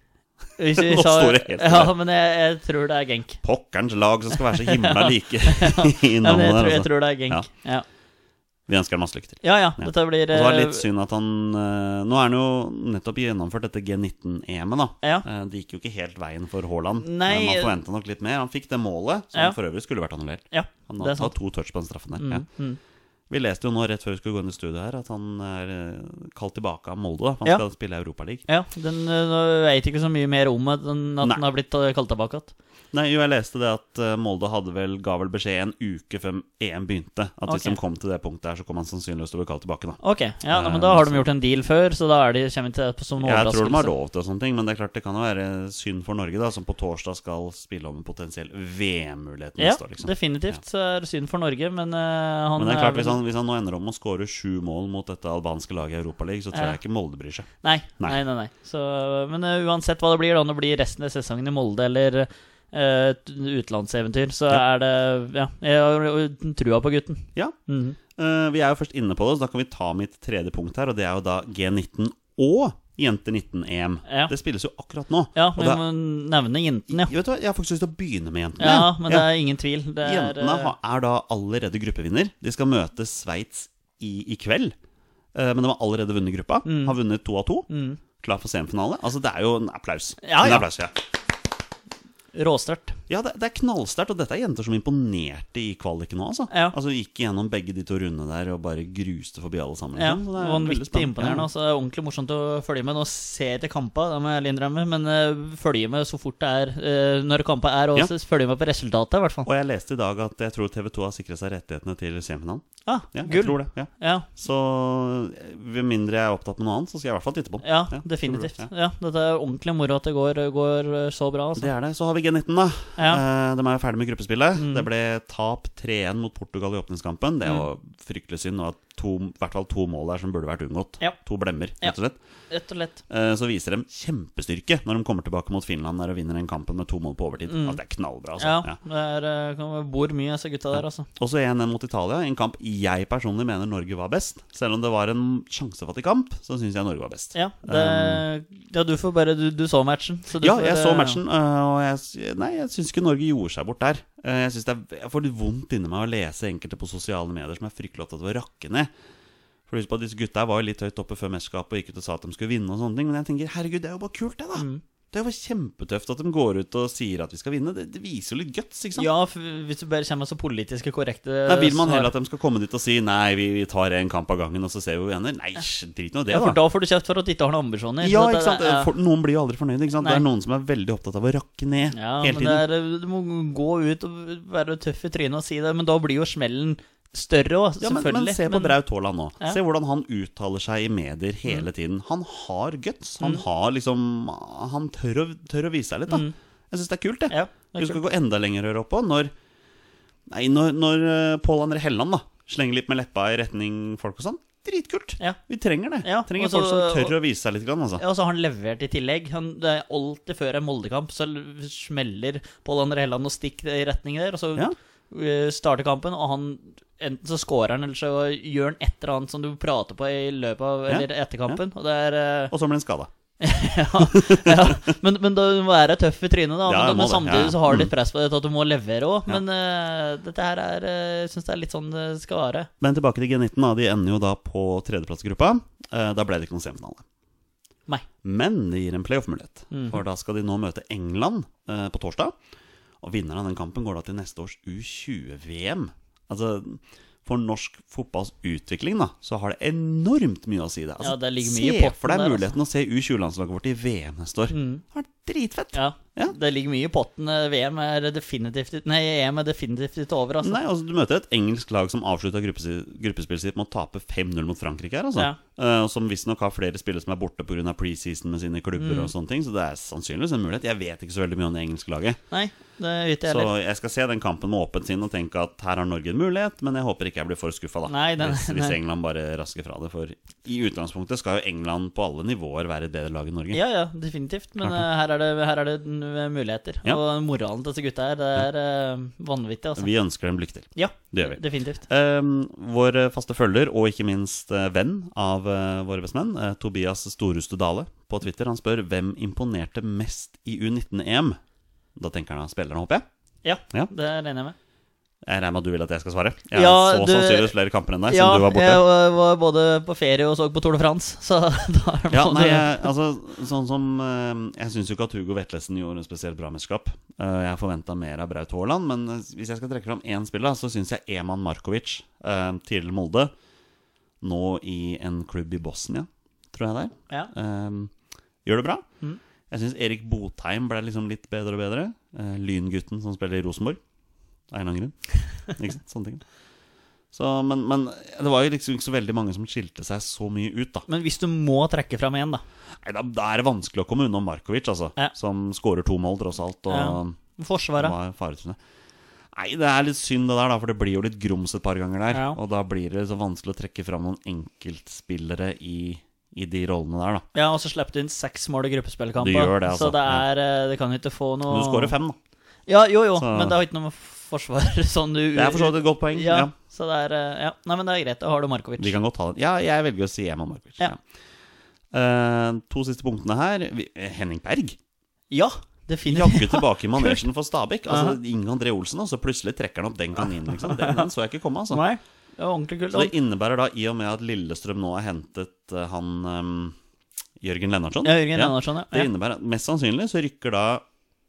Hvis vi Nå sa, står det helt stille. Ja, men jeg, jeg tror det er Genk. Pokkerens lag som skal være så himla like i Ja, men jeg, tror, navnet der. jeg Altså. tror det er Genk. Ja. Vi ønsker ham masse lykke til. ja ja, Ja. dette blir Og så var det eh, litt synd at han eh, Nå er han jo nettopp gjennomført dette G19-EM-et, da. Ja. Eh, Det gikk jo ikke helt veien for Haaland. Nei, Eh, Man eh, forventa nok litt mer. Han fikk det målet, som Ja. for øvrig skulle vært annullert. Ja, Han det har er sant. tatt to touch på den straffen der. Mm, Ja. mm. Vi leste jo nå rett før vi skulle gå inn i studio her, at han er eh, kalt tilbake av Molde. da for Ja. Han skal spille Europaligaen. Ja, den eh, nå vet ikke så mye mer om at den, at Nei. den har blitt eh, kalt tilbake igjen. Nei, jo, jeg leste det at eh, Molde hadde vel, ga vel beskjed en uke før EM begynte. At hvis Ok. de kom til det punktet her, så kom han sannsynligvis til å bli kalt tilbake, da. Ok, ja, Eh, men da har så- de gjort en deal før, så da er de, kommer vi til det som en Jeg tror de har overraskelse. lov til og sånne ting, men det er klart det kan jo være synd for Norge, da, som på torsdag skal spille om en potensiell VM-mulighet Ja, neste år. liksom. definitivt. Så er det eh, synd for Norge, men eh, han Men det er klart, vel- hvis han, hvis han nå ender om å skåre sju mål mot dette albanske laget i Europaligaen, så tror Ja. jeg ikke Molde bryr seg. Nei, Nei. nei, nei, nei. Så, Men eh, uansett hva det blir, da, om det blir resten av sesongen i Molde eller eh, et utenlandseventyr, så Ja. er det Ja, jeg har jo eh, trua på gutten. Ja, Mhm. eh, Vi er jo først inne på det, så da kan vi ta mitt tredje punkt her, og det er jo da G19 og Jente-19-EM. Ja. Det spilles jo akkurat nå. Ja, og vi det, må nevne jentene, ja. vet du hva, Jeg har faktisk lyst til å begynne med jentene. Ja, men det Ja. er ingen tvil. Det er, Jentene eh, ha- er da allerede gruppevinner. De skal møte Sveits i, i kveld. Eh, Men de har allerede vunnet gruppa. Mm. Har vunnet to av to. Klar for semifinale. Altså, det er jo en applaus. Ja, En ja. applaus, ja. Råsterkt. ja det, det er knallsterkt, og dette er jenter som imponerte i kvaliken nå, altså. Ja. Altså Gikk gjennom begge de to rundene der og bare gruste forbi alle sammen. Ja, liksom. Så det er veldig Vanvittig spennende. imponerende. Altså, det er ordentlig morsomt å følge med. Nå ser jeg ikke kampa, det må jeg ærlig innrømme, men eh, følge med så fort det er eh, når kampa er, og Ja. så følge med på resultatet, i hvert fall. Og jeg leste i dag at jeg tror TV2 har sikret seg rettighetene til semifinalen. Ah, Ja, gull. jeg tror det. Ja. Ja, Så med mindre jeg er opptatt med noe annet, så skal jeg i hvert fall titte på den. Ja, Ja, definitivt. tror Ja. Dette er ordentlig moro at det går, går så bra. Altså. Det er det. Så har vi G19, da. Ja. Mm. Eh, De er jo ferdig med gruppespillet. Det ble tap 3-1 mot Portugal i åpningskampen. Det var Mm. fryktelig synd. Og at to, i hvert fall to mål der som burde vært unngått. Ja. To blemmer, Ja. rett og slett. Rett og slett. Eh, Så viser de kjempestyrke når de kommer tilbake mot Finland der og vinner den kampen med to mål på overtid. Altså, det er knallbra, Mm. altså. Ja, Ja. det er, eh, kan være- bor mye, disse gutta der, altså. Også 1-1 mot Italia, en kamp jeg personlig mener Norge var best. Selv om det var en sjansefattig kamp, så syns jeg Norge var best. Ja, det, ja du får bare Du, du så matchen. Så du Um, Ja, får, jeg så eh, matchen, øh, og jeg, s- nei, jeg syns ikke Norge gjorde seg bort der. Eh, Jeg synes det er, jeg får litt vondt inni meg å lese enkelte på sosiale medier som er fryktelig opptatt av å rakke ned. For husk på at Disse gutta her var jo litt høyt oppe før mesterskapet og gikk ut og sa at de skulle vinne. og sånne ting Men jeg tenker herregud, det er jo bare kult, det, da. Mm. Det er jo bare kjempetøft at de går ut og sier at vi skal vinne. Det, det viser jo litt guts, ikke sant? Ja, f hvis du bare kommer med så politisk korrekte Da vil man svar. heller at de skal komme dit og si nei, vi, vi tar en kamp av gangen, og så ser vi hvor vi ender. Nei, drit nå i det, ja, for da. Da får du kjeft for at du ikke har noen ambisjoner. Ja, Så det- ikke sant? Ja. For, noen blir jo aldri fornøyd. ikke sant? Nei. Det er noen som er veldig opptatt av å rakke ned Ja, hele men tiden. det er, du må gå ut og være tøff i trynet og si det, men da blir jo smellen større òg, Ja, men, selvfølgelig. men se på Braut Haaland nå. Ja. Mm. Se hvordan han uttaler seg i medier hele tiden. Han har guts. Han har liksom Han tør å, tør å vise seg litt, da. Jeg syns det er kult, det. Mm. Ja, det er Vi skal gå enda lenger her oppe. Når, nei, når, når eh, Pål André Helland da slenger litt med leppa i retning folk og sånn. dritkult. Ja. Vi trenger det. Ja, trenger og så- folk som tør å vise seg litt, grann, altså. Ja, og så har han levert i tillegg. Han, det er alltid før en Molde-kamp så l- smeller Pål André Helland og stikk i retning der, og så Ja. eh, starter kampen, og han Enten så scorer han, eller så gjør han et eller annet som du prater på i løpet av Ja. Eller etter kampen. Og det er eh, Og så ble han skada. ja, men, men da må du være tøff i trynet, da. Ja, jeg men, må men det. samtidig Ja. så har du litt press på deg til at du må levere òg. Ja. Men eh, dette her er eh, Jeg syns det er litt sånn det skal være. Men tilbake til G19. da De ender jo da på tredjeplassgruppa. Eh, Da ble det ikke noen semifinale. Nei. Men det gir en playoff-mulighet. Mm. For da skal de nå møte England eh, på torsdag. Og vinneren av den kampen går da til neste års U20-VM. Altså, for norsk fotballs utvikling da, så har det enormt mye å si. det. Altså, Ja, det ligger mye i se potten for deg der, altså. Mm. muligheten å se U20-landslaget vårt i VM neste år. Det har vært dritfett. Ja. Ja. Det ligger mye i potten. Eh, VM er definitivt ikke- Nei, EM er definitivt ikke over, altså. Nei, altså Du møter et engelsk lag som avslutta gruppesi- gruppespillet sitt med å tape 5-0 mot Frankrike. her altså Ja. Eh, og Som visstnok har flere spillere som er borte pga. preseason med sine klubber. Mm. og sånne ting Så det er sannsynligvis en mulighet. Jeg vet ikke så veldig mye om det engelske laget. Nei, det er ikke jeg Så heller. jeg skal se den kampen med åpent sinn og tenke at her har Norge en mulighet, men jeg håper ikke jeg blir for skuffa, da. Nei, den- hvis, hvis nei. England bare rasker fra det. For i utgangspunktet skal jo England på alle nivåer være et bedre lag enn Norge. Ja, ja, definitivt. Men Klart det. eh, her, er det, her er det n- eh, muligheter. Ja. Og moralen til disse gutta her, det er eh, vanvittig, altså. Vi ønsker dem lykke til. ja, Det gjør vi. definitivt. Um, vår eh, faste følger, og ikke minst eh, venn av eh, våre bestemenn, eh, Tobias Storhuste Dale på Twitter, han spør hvem imponerte mest i U19-EM? Da tenker han av spillerne, håper jeg. Ja, Ja. det er jeg enig med. Jeg regner med at du vil at jeg skal svare. Jeg Ja, så du- sannsynligvis flere kamper enn deg, Ja, siden du var borte. jeg var- var både på ferie og så på Tour de France, så da Sånn er det Ja, både- nei, jeg, altså sånn som eh, Jeg syns jo ikke at Hugo Vetlesen gjorde en spesielt bra mesterskap. Eh, jeg forventa mer av Braut Haaland, men eh, hvis jeg skal trekke fram én spiller, da, så syns jeg Eman Markovic, eh, tidligere Molde, nå i en klubb i Bosnia, tror jeg det er, ja. eh, gjør det bra. Mhm. Jeg syns Erik Botheim ble liksom litt bedre og bedre. Eh, lyngutten som spiller i Rosenborg, av en eller annen grunn. Ikke sant? Sånne ting. Så, men, men det var jo liksom ikke så veldig mange som skilte seg så mye ut, da. Men hvis du må trekke fram én, da. Nei, da, da er det vanskelig å komme unna Markovic, altså. Ja. Som skårer to mål, tross alt. Og Ja. Forsvaret. var faretruende. Nei, det er litt synd det der, da, for det blir jo litt grums et par ganger der. Ja. Og da blir det så vanskelig å trekke fram noen enkeltspillere i, i de rollene der, da. Ja, og så slipper du inn seks mål i gruppespillkampen. Du gjør det, altså. Så det er eh, Det kan jo ikke få noe Men du skårer fem, da. Ja, jo, jo, Så- men det har ikke noe med forsvar sånn du Det er for så vidt et godt poeng. ja, Ja. så det er eh, Ja, nei, men det er greit. Da har du Markovic. Vi kan godt ta den. Ja, jeg velger å si Emma Markovic. Ja. Eh, to siste punktene her. Vi, eh, Henning Berg. Ja, definitivt. Jaggu tilbake i manesjen for Stabæk. Altså, Inge André Olsen, og så plutselig trekker han opp den kaninen, liksom. Den, den så jeg ikke komme, altså. Nei, det var ordentlig kult. Så det innebærer da, i og med at Lillestrøm nå har hentet eh, han ehm, Jørgen Lennartson Ja, Jørgen Lennartson, ja. Det Ja. innebærer at mest sannsynlig så rykker da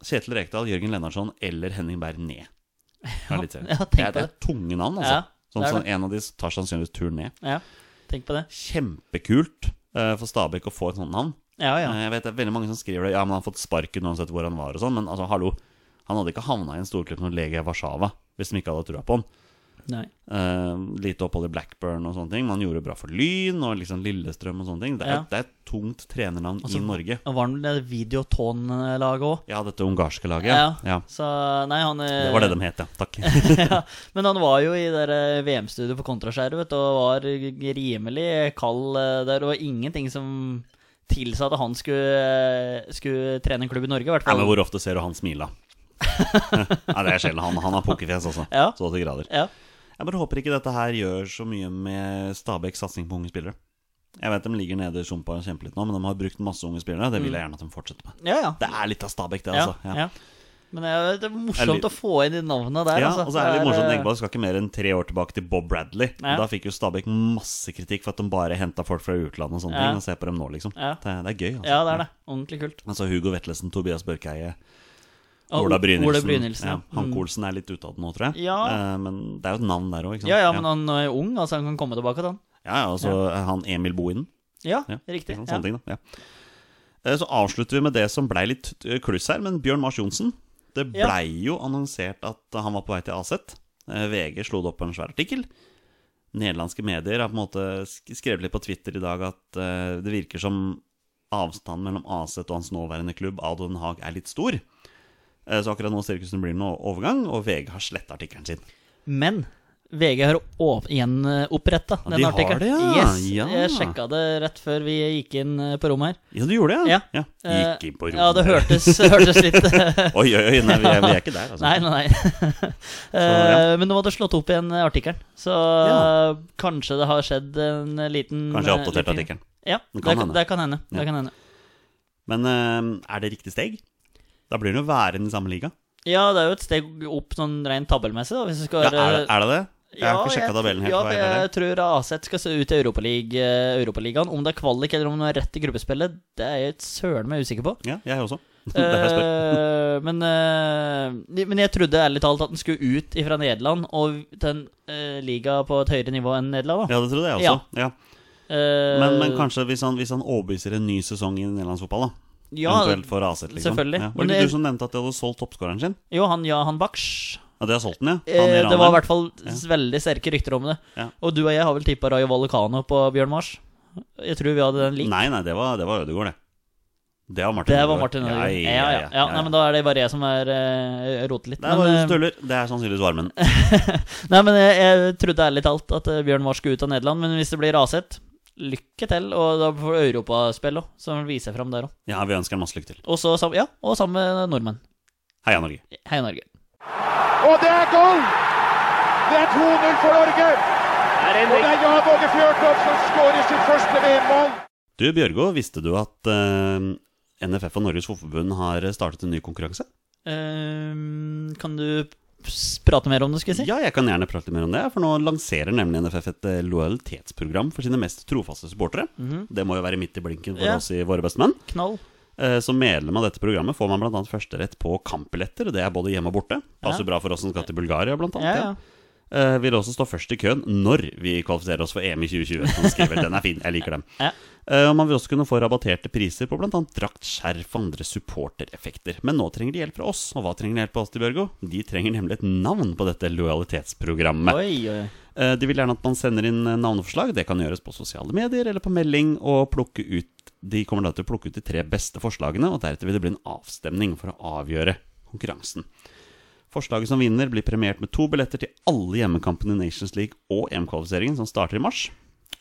Kjetil Rekdal, Jørgen Lennartson eller Henning Berg ned. Ja, litt ja, tenk det, er, på det er tunge navn, altså. Ja, sånn, det er sånn, en av de tar sannsynligvis tur ned. ja, tenk på det. Kjempekult eh, for Stabæk å få et sånt navn. Ja, ja. Eh, Jeg vet det er veldig mange som skriver det Ja, men han har fått sparken uansett hvor han var og sånn Men altså, hallo Han hadde ikke havnet i en storklubb som Legia Warszawa Hvis de ikke hadde trua på han Nei. Eh, lite opphold i Blackburn og sånne ting. Man gjorde det bra for Lyn og liksom Lillestrøm og sånne ting. Det er, Ja. det er et tungt trenernavn Altså, i Norge. Og var han med det Videoton-laget òg? Ja, dette ungarske laget. Ja. Ja. Så nei, han eh, Det var det de het, ja. Takk. ja, men han var jo i det der VM-studioet på Kontraskjæret, vet du, og var rimelig kald eh, der. Og ingenting som tilsa at han skulle, eh, skulle trene en klubb i Norge, i hvert Nei, fall. men hvor ofte ser du han smile? Nei, det er sjelden. Han, han har pokerfjes, altså. Ja. Så til grader. Ja. Jeg bare håper ikke dette her gjør så mye med Stabæks satsing på unge spillere. Jeg vet de ligger nede i sumpa og kjemper litt nå, men de har brukt masse unge spillere. Det vil jeg gjerne at de fortsetter med. Ja, ja. Det er litt av Stabæk, det, Mm. ja, altså. ja. Men det er, det er Eller- morsomt å få inn de navnene der. Ja, altså. og så er det litt morsomt eh, å tenke på at det skal ikke mer enn tre år tilbake til Bob Bradley. Ja. Da fikk jo Stabæk masse kritikk for at de bare henta folk fra utlandet og sånne Ja. ting. Og se på dem nå, liksom. Ja. Det, det er gøy. Altså. Ja, det er det. Ordentlig kult. Altså Hugo Vetlesen, Tobias Børkeie, Og Ola O- Brynildsen. Ola Brynildsen, ja. Mm. ja. Hanke Olsen er litt ute av det nå, tror jeg. Ja. Eh, men det er jo et navn der òg, ikke sant. Ja, ja, men han er jo ung, altså han kan komme tilbake til han. ja, ja, og så er han Emil Bohinen. Ja, Ja, riktig. Sånne Ja. ting, da. Ja. Eh, Så avslutter vi med det som blei litt eh, kluss her, men Bjørn Mars Johnsen. Det Ja. blei jo annonsert at han var på vei til AZ. Eh, VG slo det opp på en svær artikkel. Nederlandske medier har på en måte sk- skrevet litt på Twitter i dag at eh, det virker som avstanden mellom AZ og hans nåværende klubb, ADO Den Haag, er litt stor. Eh, Så akkurat nå ser det ikke ut som det blir noen overgang, og VG har sletta artikkelen sin. Men VG har åp- gjenoppretta Ja, den de har artikkelen. det, ja. Yes, Ja. Jeg sjekka det rett før vi gikk inn eh, på rommet her. Ja, du gjorde det? Ja. Eh, Gikk inn på rommet. Ja, det hørtes, hørtes litt eh, Oi, oi, oi, nei, vi er, vi er ikke der, altså. Nei, nei, nei. Eh, Men nå hadde slått opp igjen eh, artikkelen, så Ja. eh, kanskje det har skjedd en liten Kanskje jeg har eh, oppdatert liten- artikkelen. Ja, Det det kan kan hende. det kan hende. Ja. Det kan hende. Men eh, er det riktig steg? Da blir det jo værende i samme liga. Ja, det er jo et steg opp sånn rent tabellmessig, da, hvis du skal Ja, er, det, er det det? Jeg har Ja, ikke sjekka jeg- tabellen helt. Ja, hva for jeg jeg er der. tror AZ skal se ut i Europaliga- eh, Europaligaen. Om det er kvalik eller om det er rett i gruppespillet, det er jeg søren meg usikker på. Ja, jeg også. Derfor jeg spør. Eh, men, eh, men jeg trodde ærlig talt at den skulle ut ifra Nederland og til en eh, liga på et høyere nivå enn Nederland. Da. Ja, det trodde jeg også. Ja. Eh, Men, men kanskje hvis han, hvis han overbeviser en ny sesong i nederlandsfotball, da? Eh, ja, Eventuelt for AZ, liksom. selvfølgelig. Ja. Var Men det det- ikke du som nevnte at de hadde solgt toppskåreren sin? Jo, han Jahan Baksh. Ja, de har solgt den, ja? Han Eh, det var i iraneren. hvert fall s- veldig sterke rykter om det. Ja. Og du og jeg har vel tippa Rayo Vallecano på Bjørn Mars? Jeg tror vi hadde den lik. Nei, nei, det var, det var Ødegaard, det. Det var Martin Det var Martin Ødegaard. Ja, ja, ja. Nei, men da er det bare jeg som er eh, roter litt. Det Men, var eh, Støler. Det er sannsynligvis varmen. nei, men jeg, jeg trodde ærlig talt at eh, Bjørn Mars skulle ut av Nederland, men hvis det blir Raset, lykke til. Og da får du europaspill òg, som han viser fram der òg. Ja, vi ønsker ham masse lykke til. Og så sam- ja, og sammen med nordmenn. Heia Norge. Hei, Norge. Og det er goal! Det er 2-0 for Norge. Og det er Jan Åge Fjørtoft som skårer sitt første VM-mål. Du, Bjørgo, visste du at eh, NFF og Norges Fotballforbund har startet en ny konkurranse? Ehm, kan du s- prate mer om det, skulle jeg si? Ja, jeg kan gjerne prate litt mer om det, for nå lanserer nemlig NFF et eh, lojalitetsprogram for sine mest trofaste supportere. Det må jo være midt i blinken for Mhm. Ja. oss i Våre beste menn. Knall. Eh, Som medlem av dette programmet får man bl.a. førsterett på kampbilletter, og det er både hjemme og borte. Passer bra for oss som skal til Bulgaria, blant Ja, annet. ja. ja. Eh, Vil også stå først i køen når vi kvalifiserer oss for EM i 2020. Som skriver, den er fin, jeg liker dem. Ja. Eh, Og man vil også kunne få rabatterte priser på bl.a. drakt, skjerf og andre supportereffekter. Men nå trenger de hjelp fra oss, og hva trenger de hjelp av oss til, Bjørgo? De trenger nemlig et navn på dette lojalitetsprogrammet. Oi, oi. Eh, De vil gjerne at man sender inn eh, navneforslag. Det kan gjøres på sosiale medier eller på melding. Og plukke ut De kommer da til å plukke ut de tre beste forslagene, og deretter vil det bli en avstemning for å avgjøre konkurransen. Forslaget som vinner, blir premiert med to billetter til alle hjemmekampene i Nations League og EM-kvalifiseringen, som starter i mars.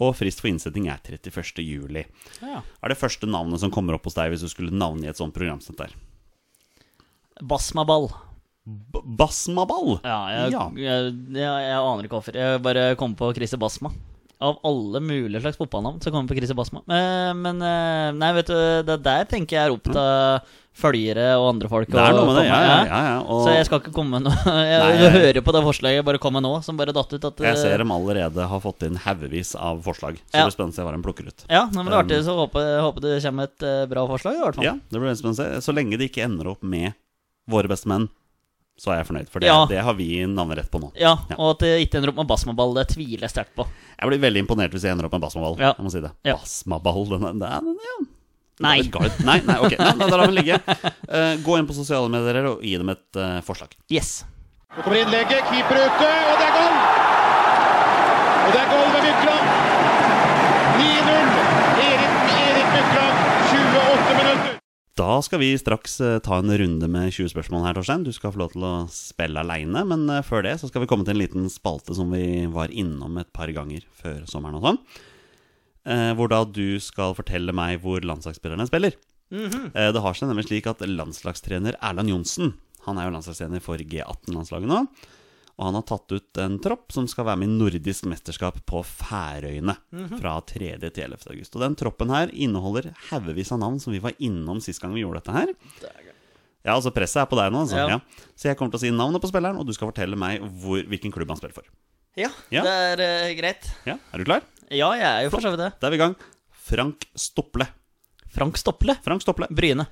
Og frist for innsetting er 31. juli. Ja. Er det første navnet som kommer opp hos deg hvis du skulle navngi et sånt programsnitt der? Basmaball. B Basmaball! Ja, jeg, Ja. Jeg, jeg, jeg aner ikke hvorfor. Jeg bare kom på Christer Basma. Av alle mulige slags fotballnavn så kom jeg på Christer Basma. Eh, Men eh, nei, vet du, det der tenker jeg er opp til følgere og andre folk. Det er å noe med det. komme- Ja, ja, ja. ja. Og Så jeg skal ikke komme med noe jeg, Du Nei, jeg- hører på det forslaget bare kom med nå, som bare datt ut. At, jeg ser dem allerede har fått inn haugevis av forslag. Så Eh, Ja. det blir spennende å se hva de plukker ut. Ja, nei, men det er artig, så håper, håper det kommer et eh, bra forslag, i hvert fall. Um, Ja, det blir veldig spennende å se. Så lenge det ikke ender opp med våre beste menn, så er jeg fornøyd. For det, Ja. det har vi navnerett på nå. Ja, Ja. Og at det ikke ender opp med basmaball, det tviler jeg sterkt på. Jeg blir veldig imponert hvis jeg ender opp med basmaball. Ja. Jeg må si det. Ja. Basmaball, den er, den er den, ja. Nei. Den er guide- Nei, nei, ok. Nei, nei, da lar vi den ligge. Eh, gå inn på sosiale medier og gi dem et eh, forslag. Yes. Nå kommer innlegget, keeper ute, og det er goal! Og det er goal ved Mykland. 9-0. Erik, Erik Mykland, 28 minutter. Da skal vi straks eh, ta en runde med 20 spørsmål her, Torstein. Du skal få lov til å spille aleine, men eh, før det så skal vi komme til en liten spalte som vi var innom et par ganger før sommeren og sånn. Eh, hvor da du skal fortelle meg hvor landslagsspillerne spiller. Eh, det har seg nemlig slik at landslagstrener Erland Johnsen, han er jo landslagstrener for G18-landslaget nå, og han har tatt ut en tropp som skal være med i nordisk mesterskap på Færøyene fra 3. til 11. august. Og den troppen her inneholder haugevis av navn som vi var innom sist gang vi gjorde dette her. Ja, altså presset er på deg nå, altså. Ja. Ja. Så jeg kommer til å si navnet på spilleren, og du skal fortelle meg hvor, hvilken klubb han spiller for. Ja, Ja. det er eh, greit. Ja, Er du klar? Ja, jeg er jo for så vidt det. Da er vi i gang. Frank Stople. Frank Stopple. Frank Stople. Bryne.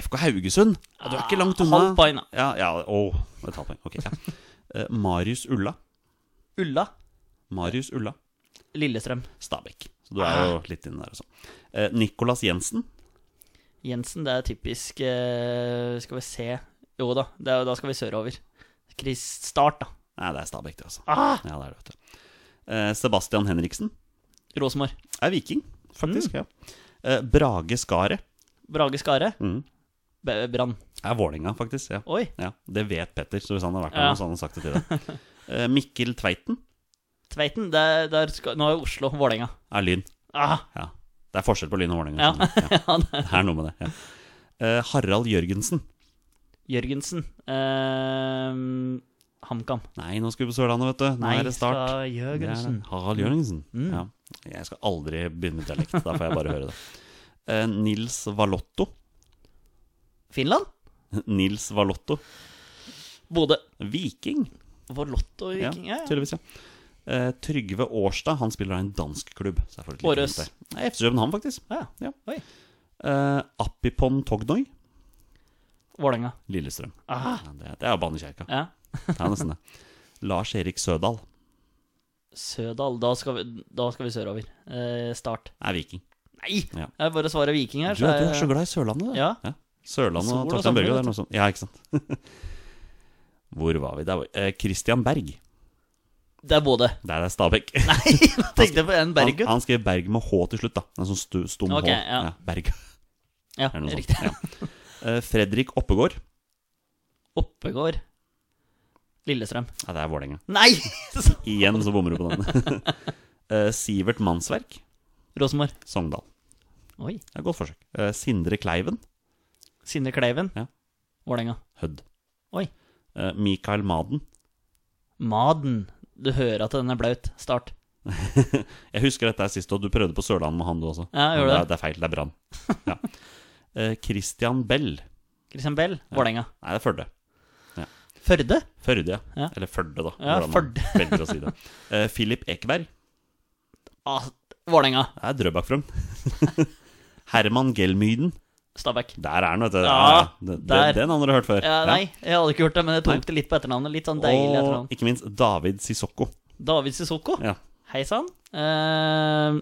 FK Haugesund. Ja, du er ikke langt unna. Ah, Halvt poeng, da. Ja, ja, å, et halvt poeng. Ok, ja. Eh, Marius Ulla. Ulla. Marius Ulla. Lillestrøm. Stabæk. Så du er Ah. jo litt inne der også. Eh, Nicolas Jensen. Jensen, det er typisk eh, Skal vi se Jo da, det er, da skal vi sørover. Chris Start, da. Nei, det er Stabæk, det, altså. Ah! Ja, det er det, vet du. Eh, Sebastian Henriksen Rosenborg. er viking, Mm. faktisk. ja. Eh, Brage Skaret Brage Skare. Mhm. B- Brann. er Vålinga, faktisk. Ja. Oi. ja. Det vet Petter, så hvis han har vært Ja. med, så hadde han sagt det til deg. Eh, Mikkel Tveiten Tveiten, der, der skal, nå er Oslo Vålerenga. er Lyn. Ah, Ja. Det er forskjell på Lyn og Vålerenga. ja. skjønner du. Ja. ja det- Det er noe med det. Ja. Eh, Harald Jørgensen. Jørgensen. Eh, HamKam. Nei, nå skal vi på Sørlandet, vet du. Nå er det start. fra Jørgensen. Mm. Det er det. Harald Jørgensen. Ja. Jeg skal aldri begynne med dialekt. Da får jeg bare høre det. Eh, Nils Valotto. Finland? Nils Valotto. Bodø. Viking. Volotto i Viking? Ja, ja. tydeligvis, ja. Eh, Trygve Årstad. Han spiller i en dansk klubb. Så jeg får et lite Århus. hint der. Nei, FC København, faktisk. Ja. Ja. Oi. Eh, Appipon Tognoi. Vålerenga. Lillestrøm. Ah, Ja, det, det er jo Banekjerka. ja. Det er nesten det. Lars Erik Sødal. Sødal. Da skal vi, da skal vi sørover. Eh, start. Er viking. Nei! Ja. Jeg bare svarer Viking her. Du, så er- du jeg- er så glad i Sørlandet, du. Ja. Sørlandet Sol og og Torstein Børge. sommer, Det er noe sånt. Ja, ikke sant. Hvor var vi? Der var eh, Christian Berg. Det er Bodø. Der er Stabæk. Nei, nå tenkte jeg på en Altså, Han, Berggutt. han skrev Berg med H til slutt, da. En sånn stu, stum Ok, H. ja. Berg. Ja, Er det noe sånt? riktig. Eh, Fredrik Oppegård. Oppegård. Lillestrøm. Ja, det er Vålerenga. Nei! Igjen så bommer du på den. Eh, Sivert Mannsverk. Rosenborg. Sogndal. Oi. Det er et godt forsøk. Eh, Sindre Kleiven. Sindre Kleiven. Ja. Vålerenga. Hødd. Oi. Eh, Mikael Maden. Maden. Du hører at den er blaut. Start. Jeg husker dette er sist, og du prøvde på Sørlandet med han, du også. Ja, jeg gjorde Men det. er, det er feil. Det er Brann. Ja. Eh, Christian Bell. Christian Bell. Vålerenga. Nei, det er Førde. Førde. Førde, ja. Ja. Eller Førde, da. Ja, hvordan man velger å si det. Eh, Filip Ekberg. Ah, Vålerenga. Det er Drøbak-Frogn. Herman Gelmyden. Stabæk. Der er han, vet du. Ja, den, der. den andre du har hørt før. Ja, nei, jeg hadde ikke gjort det, men jeg tok det litt på etternavnet. Litt sånn deilig etternavn. Og ikke minst David Sissoko. David Sissoko. Ja, Hei sann. Eh,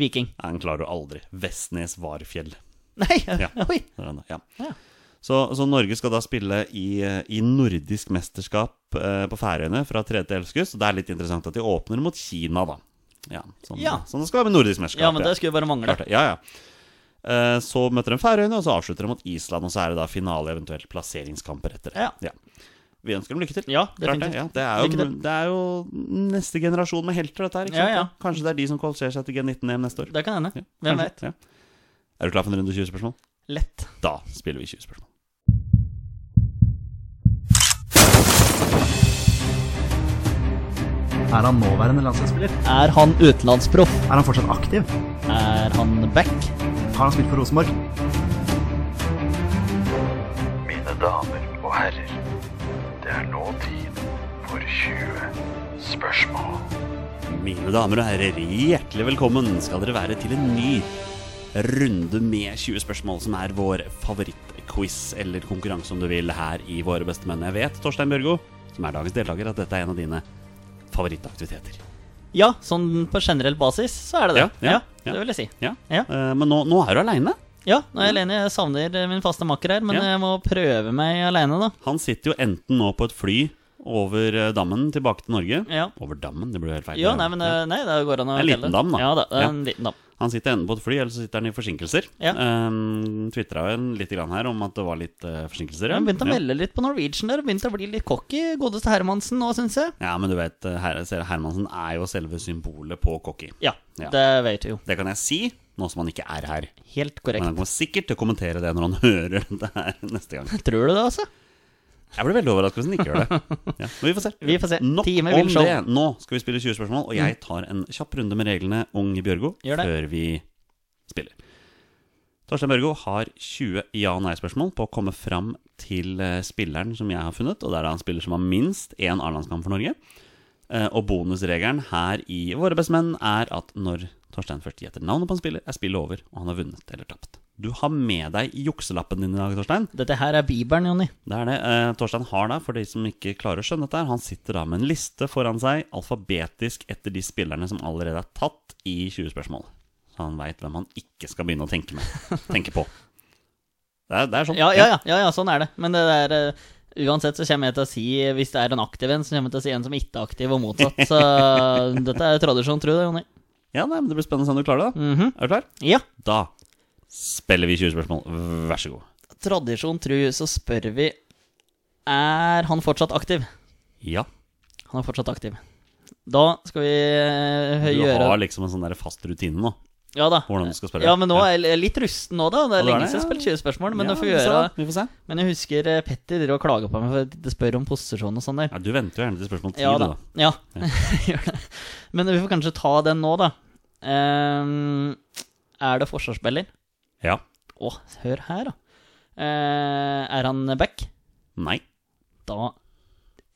Viking. Han klarer du aldri. Vestnes Varfjell. Nei, Ja. oi. Der er han, ja. Ja. Så, så Norge skal da spille i, eh, i nordisk mesterskap eh, på Færøyene fra 3. til 11. august. Og det er litt interessant at de åpner mot Kina, da. Ja, Sånn, Ja. sånn det skal være med nordisk mesterskap. Ja, men det skulle jo bare mangle. Klart det. Ja, ja. Eh, Så møter de Færøyene, og så avslutter de mot Island. Og så er det da finale, eventuelt plasseringskamper etter det. Ja. Vi ønsker dem lykke til. Ja, Klart det. definitivt. Ja, det, er Lykke jo, det er jo neste generasjon med helter, dette her. Ikke Ja, sant? ja. Kanskje det er de som kvalifiserer seg til G19-EM neste år. Det kan hende. Ja, Hvem kanskje. vet? Ja. Er du klar for en runde 20 spørsmål? Lett. Da spiller vi 20 spørsmål. Er han nåværende landslagsspiller? Er han utenlandsproff? Er han fortsatt aktiv? Er han back? Har han spilt for Rosenborg? Mine damer og herrer, det er nå tid for 20 spørsmål. Mine damer og herrer, hjertelig velkommen skal dere være til en ny runde med 20 spørsmål, som er vår favorittquiz eller konkurranse, om du vil, her i Våre beste menn. Jeg vet, Torstein Bjørgo, som er dagens deltaker, at dette er en av dine favorittaktiviteter. Ja, sånn på generell basis så er det det. Ja, ja, ja. Det vil jeg si. Ja. Ja. Eh, Men nå, nå er du aleine. Ja, nå er jeg alene. Jeg savner eh, min faste makker her, men Ja. jeg må prøve meg alene, da. Han sitter jo enten nå på et fly over eh, dammen tilbake til Norge. Ja. Over dammen, det blir jo helt feil. Jo, nei, men det, nei, det går an å En liten telle. dam, da. Ja da, det er Ja. en liten dam. Han sitter enten på et fly, eller så sitter han i forsinkelser. Ja. Um, Tvitra en litt grann her om at det var litt eh, forsinkelser. Han begynte å Ja. melde litt på Norwegian der, og begynte å bli litt cocky, godeste Hermansen nå, syns jeg. Ja, men du vet, her, ser- Hermansen er jo selve symbolet på cocky. Ja, Ja. det vet du jo. Det kan jeg si, nå som han ikke er her. Helt Men korrekt. han kommer sikkert til å kommentere det når han hører det her neste gang. Tror du det, altså? Jeg ble veldig overrasket hvis han ikke gjør det. Ja, men vi får se. Vi får se. Nok Time om vil show. det. Nå skal vi spille 20 spørsmål, og jeg tar en kjapp runde med reglene, unge Mm. Bjørgo, Gjør det. før vi spiller. Torstein Bjørgo har 20 ja- og nei-spørsmål på å komme fram til eh, spilleren som jeg har funnet, og det er da en spiller som har minst én A-landskamp for Norge. Eh, Og bonusregelen her i Våre beste menn er at når Torstein først gjetter navnet på en spiller, er spillet over, og han har vunnet eller tapt. Du har med deg jukselappen din i dag, Torstein. Dette her er Bibelen, Jonny. Det er det. Eh, Torstein har da, for de som ikke klarer å skjønne dette, her, han sitter da med en liste foran seg, alfabetisk etter de spillerne som allerede er tatt i 20 spørsmål. Så han veit hvem han ikke skal begynne å tenke, med, tenke på. Det er, det er sånn. Ja, ja, ja, ja, ja, sånn er det. Men det der eh, Uansett så kommer jeg til å si, hvis det er en aktiv en, så kommer jeg til å si en som ikke er aktiv, og motsatt. Så dette er tradisjon, tro det, Jonny. Ja, nei, men Det blir spennende å se om du klarer det. da. Mhm. Er du klar? Ja. Da spiller vi 20 spørsmål. Vær så god. Tradisjon tru, så spør vi Er han fortsatt aktiv? Ja. Han er fortsatt aktiv. Da skal vi eh, Du gjøre har liksom en sånn der fast rutine nå. ja, da. hvordan du skal spørre. Ja, men nå er jeg litt rusten nå, da. Det Ja, er du er lenge det, siden jeg har spilt ja. 20 spørsmål. Men, Ja, jeg får vi får se gjøre, da, Vi får se. men jeg husker eh, Petter driver og klager på meg for at jeg spør om posisjon og sånn der. Ja, du venter jo gjerne til spørsmål 10, Ja du, da. da. Ja, gjør det. Men vi får kanskje ta den nå, da. Ehm, er det forsvarsspiller? Ja. Å, hør her, da. Eh, er han back? Nei. Da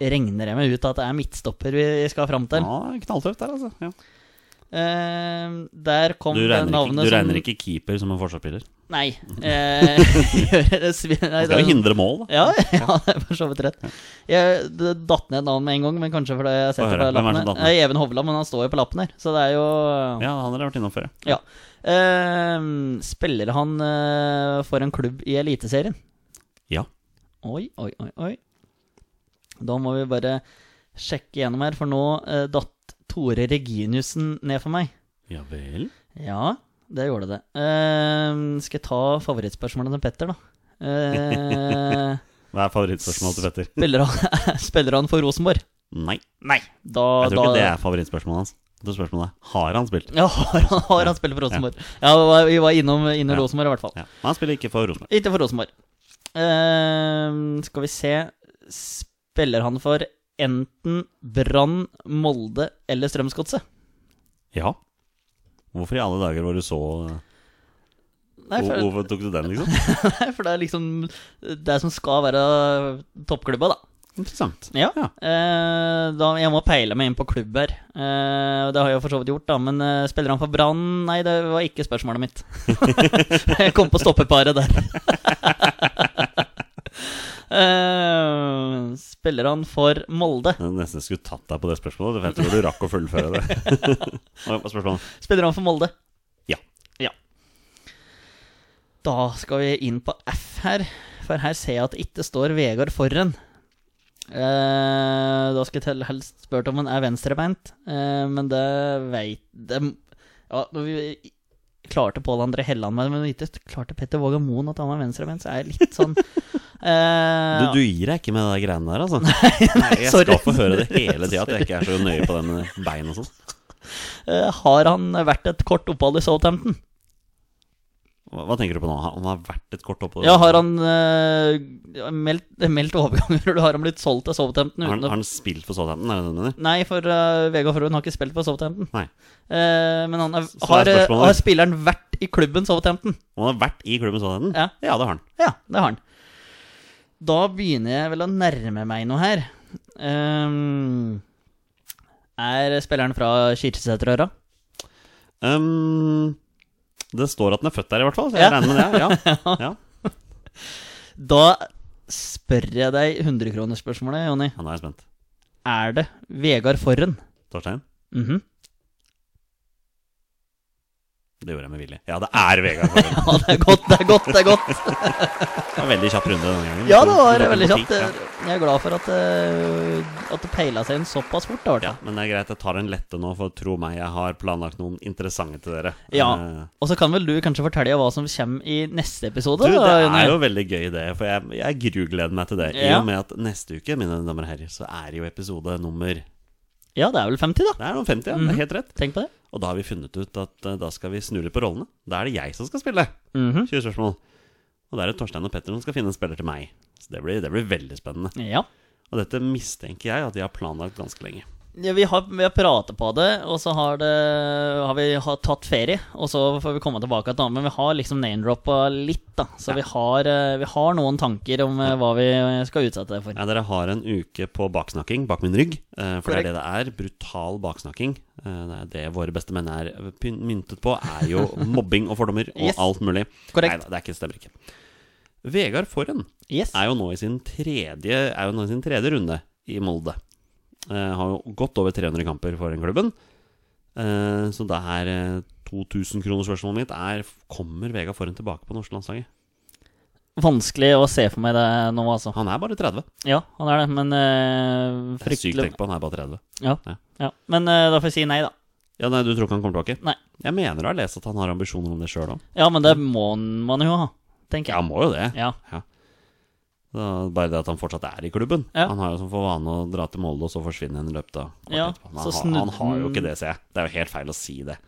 regner jeg meg ut at det er midtstopper vi skal fram til. Ja, knalltøft der, altså. Ja. Ehm, der kom Du, det regner ikke, navnet du som regner ikke keeper som en forsvarsspiller? Nei. eh, gjør det svi- nei, Han skal det- jo hindre mål, da. Ja, ja, det er for så vidt rett. Jeg det datt ned et navn med en gang, men kanskje fordi jeg har sett Få det på høre, hvem er det som lappen. her. datt ned? Eh, Even Hovland, men han står jo på lappen her, så det er jo Ja, han har vært innom før. ja. Ja. Ehm, spiller han eh, for en klubb i Eliteserien? Ja. Oi, oi, oi, oi. Da må vi bare sjekke gjennom her, for nå eh, datt Tore Reginiussen ned for meg. Ja vel? Ja, det gjorde det. Ehm, skal jeg ta favorittspørsmålet til Petter, da? Eh, Hva er favorittspørsmålet til Petter? spiller, han, spiller han for Rosenborg? Nei. Nei. Da, Jeg tror da, ikke det er favorittspørsmålet hans. Det spørsmålet er, Har han spilt? Ja, har han, har han spiller for Rosenborg? Ja, vi var- vi var innom, innom Ja. Rosenborg, i hvert fall. Ja. Men han spiller ikke for Rosenborg. Ikke for Rosenborg. Ehm, skal vi se Spiller han for enten Brann, Molde eller Strømsgodset? Ja. Hvorfor i alle dager var du så Nei, Hvor- for, Hvorfor tok du den, liksom? for det er liksom det som skal være toppklubba, da. Interessant. Ja. Eh, da jeg må peile meg inn på klubb her. Eh, og det har jeg jo for så vidt gjort, da. Men eh, spiller han for Brann? Nei, det var ikke spørsmålet mitt. jeg kom på stoppeparet der. Eh, spiller han for Molde? Jeg nesten skulle tatt deg på det spørsmålet, for jeg tror du rakk å fullføre det. Hva var spørsmålet? Spiller han for Molde? Ja. Ja. Da skal vi inn på F her, for her ser jeg at det ikke står Vegard foran. Eh, da skulle jeg til- helst spurt om han er venstrebeint, eh, men det veit det, Ja, når vi klarte Pål André Helland meg, men ikke klarte Petter Våga Moen at han var venstrebeint, så er jeg litt sånn eh, Du, du gir deg ikke med de greiene der, altså. Nei, jeg sorry. skal få høre det hele tida, at jeg ikke er så nøye på det med bein og sånn. eh, Har han vært et kort opphold i Southampton? Hva, hva tenker du på nå? Han har vært et kort opphold? Ja, har han eh, meldt, meldt overganger, eller har han blitt solgt til Southampton? Har han, Uten å, har han spilt for Southampton, er det det du mener? nei, for eh, Vegard Froen har ikke spilt for Southampton. Nei. Eh, men han er, er har, eh, spørsmålet. har spilleren vært i klubben Southampton? Han har vært i klubben Southampton? Ja. ja, det har han. Ja, det har han. Da begynner jeg vel å nærme meg noe her. Ehm, er spilleren fra Kirkeseterøra? Um, det står at den er født der, i hvert fall. Så jeg Ja. regner med det. Ja. ja. Da spør jeg deg 100-kronerspørsmålet, Jonny. Ja, nå er jeg spent. Er det Vegard Forren? Torstein? Mhm. Det gjorde jeg med vilje. Ja, det er Vegard. Follum. Ja, det er godt, det er godt, det er godt. Det var en veldig kjapp runde denne gangen. Ja, det var To- to veldig på ti. kjapt. Jeg er glad for at, eh, at det peila seg inn såpass fort. Da, var det. Ja, men det er greit, jeg tar en lette nå, for tro meg, jeg har planlagt noen interessante til dere. Ja. Eh, Og så kan vel du kanskje fortelle hva som kommer i neste episode? Du, det da, Jonny? er jo veldig gøy det, for jeg, jeg grugleder meg til det. I Ja. og med at neste uke, mine damer og herrer, så er jo episode nummer Det Ja, det er vel 50, da. er noen 50, ja. Mhm. Det er helt rett. Tenk på det. Og da har vi funnet ut at eh, da skal vi snu litt på rollene. Da er det jeg som skal spille. Mhm. 20 spørsmål. Og da er det Torstein og Petter som skal finne en spiller til meg. Så det blir, det blir veldig spennende. Ja. Og dette mistenker jeg at de har planlagt ganske lenge. ja vi, har, vi har pratet på det, og så har, det, har vi har tatt ferie. Og så får vi komme tilbake igjen, da. Men vi har liksom name-droppa litt, da. Så vi, har, eh, vi har noen tanker om eh, hva vi skal utsette det for. Ja, dere har en uke på baksnakking bak min rygg, eh, for det Korrekt. er det det er. Brutal baksnakking. Eh, Det er det våre beste menn er pyn- myntet på, er jo mobbing og fordommer og Yes. alt mulig. Korrekt. Neida, det er ikke, stemmer ikke. Vegard Forhen Yes. er jo nå i sin tredje, er jo nå i sin tredje runde i Molde. Eh, har jo godt over 300 kamper for den klubben. Eh, så det er eh, 2000 kroner spørsmålet mitt er Kommer Vegard Forhen tilbake på norske landslaget? Vanskelig å se for meg det nå, altså. Han er bare 30. Ja, han er det, men eh, Det er Sykt fryktelig tenkt på, han er bare 30. Ja. Ja. ja. Men eh, da får jeg si nei, da. Ja, nei, Du tror ikke han kommer tilbake? Nei. Jeg mener du har lest at han har ambisjoner om det sjøl òg. Ja, men det må man jo ha, tenker Ja, han jeg. må jo det. Ja. Det er bare det at han fortsatt er i klubben. Ja. Han har jo som for vane å dra til Molde, og så forsvinne en i løpet av kort Ja, etterpå. Men så Mm. han, har- han snudde har jo han- ikke det, ser jeg. Det er jo helt feil å si det.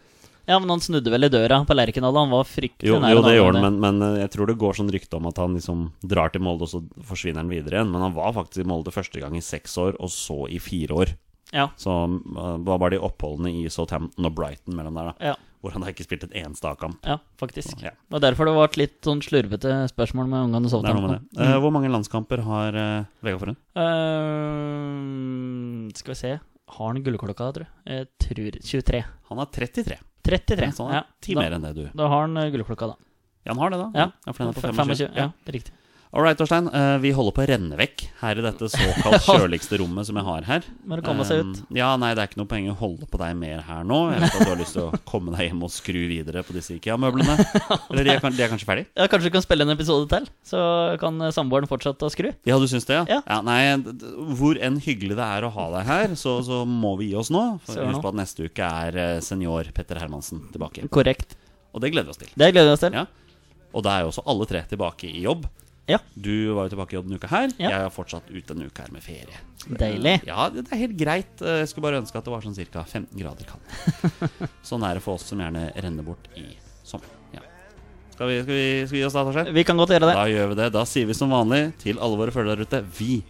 Ja, men han snudde vel i døra på Lerkendal. Han var fryktelig Jo, nær jo å det navne gjør han, men, men eh, jeg tror det går sånn rykte om at han liksom drar til Molde, og så forsvinner han videre igjen. Men han var faktisk i Molde første gang i seks år, og så i fire år. Ja, Så eh, det var bare de oppholdene i Southampton og Brighton mellom der, da. ja, Hvor han da ikke spilte et eneste A-kamp. ja faktisk. Ja. Det var derfor det ble litt sånn slurvete spørsmål med ungene Det er noe med det. Southampton. Eh, hvor mange landskamper har uh, Vegard Forhund? Eh, skal vi se Har han gullklokka, tror jeg? Jeg tror 23. Han har 33. 33. Sånn, ja. Ti da, mer enn det, du. da har han eh, gullklokka, da. Ja, han har det, da. Ja. for den er på 25. 25. Ja, riktig. All right, Torstein. eh, vi holder på å renne vekk her i dette såkalt kjøligste rommet som jeg har her. Må det komme seg Um, ut. Ja, nei, det er ikke noe poeng å holde på deg mer her nå. Jeg vet at du har lyst til å komme deg hjem og skru videre på disse IKEA-møblene. Eller de er, kan- de er kanskje ferdig? Ja, Kanskje du kan spille en episode til? Så kan eh, samboeren fortsette å skru? Ja, du syns det, ja? Ja. nei, d- d- hvor enn hyggelig det er å ha deg her, så, så må vi gi oss nå. For Søren Husk nå. på at neste uke er eh, senior Petter Hermansen tilbake. Korrekt. Og det gleder vi oss til. Det gleder vi oss til. Ja. Og da er jo også alle tre tilbake i jobb. Ja. Du var jo tilbake i jobb denne uka her. Ja. Jeg er fortsatt ute denne uka her med ferie. Deilig. Ja, det det er helt greit. Eh, Jeg skulle bare ønske at det var sånn ca. 15 grader kaldt. Sånn er det for oss som gjerne renner bort i sommer. Ja. Skal, vi, skal, vi, skal vi gi oss da, Torstein? Vi kan godt gjøre det. Da gjør vi det. Da sier vi som vanlig til alle våre følgere der ute vi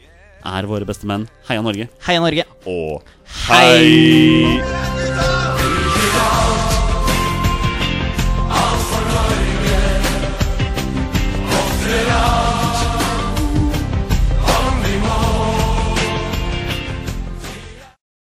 er våre beste menn. Heia Norge. Heia Norge. Og hei!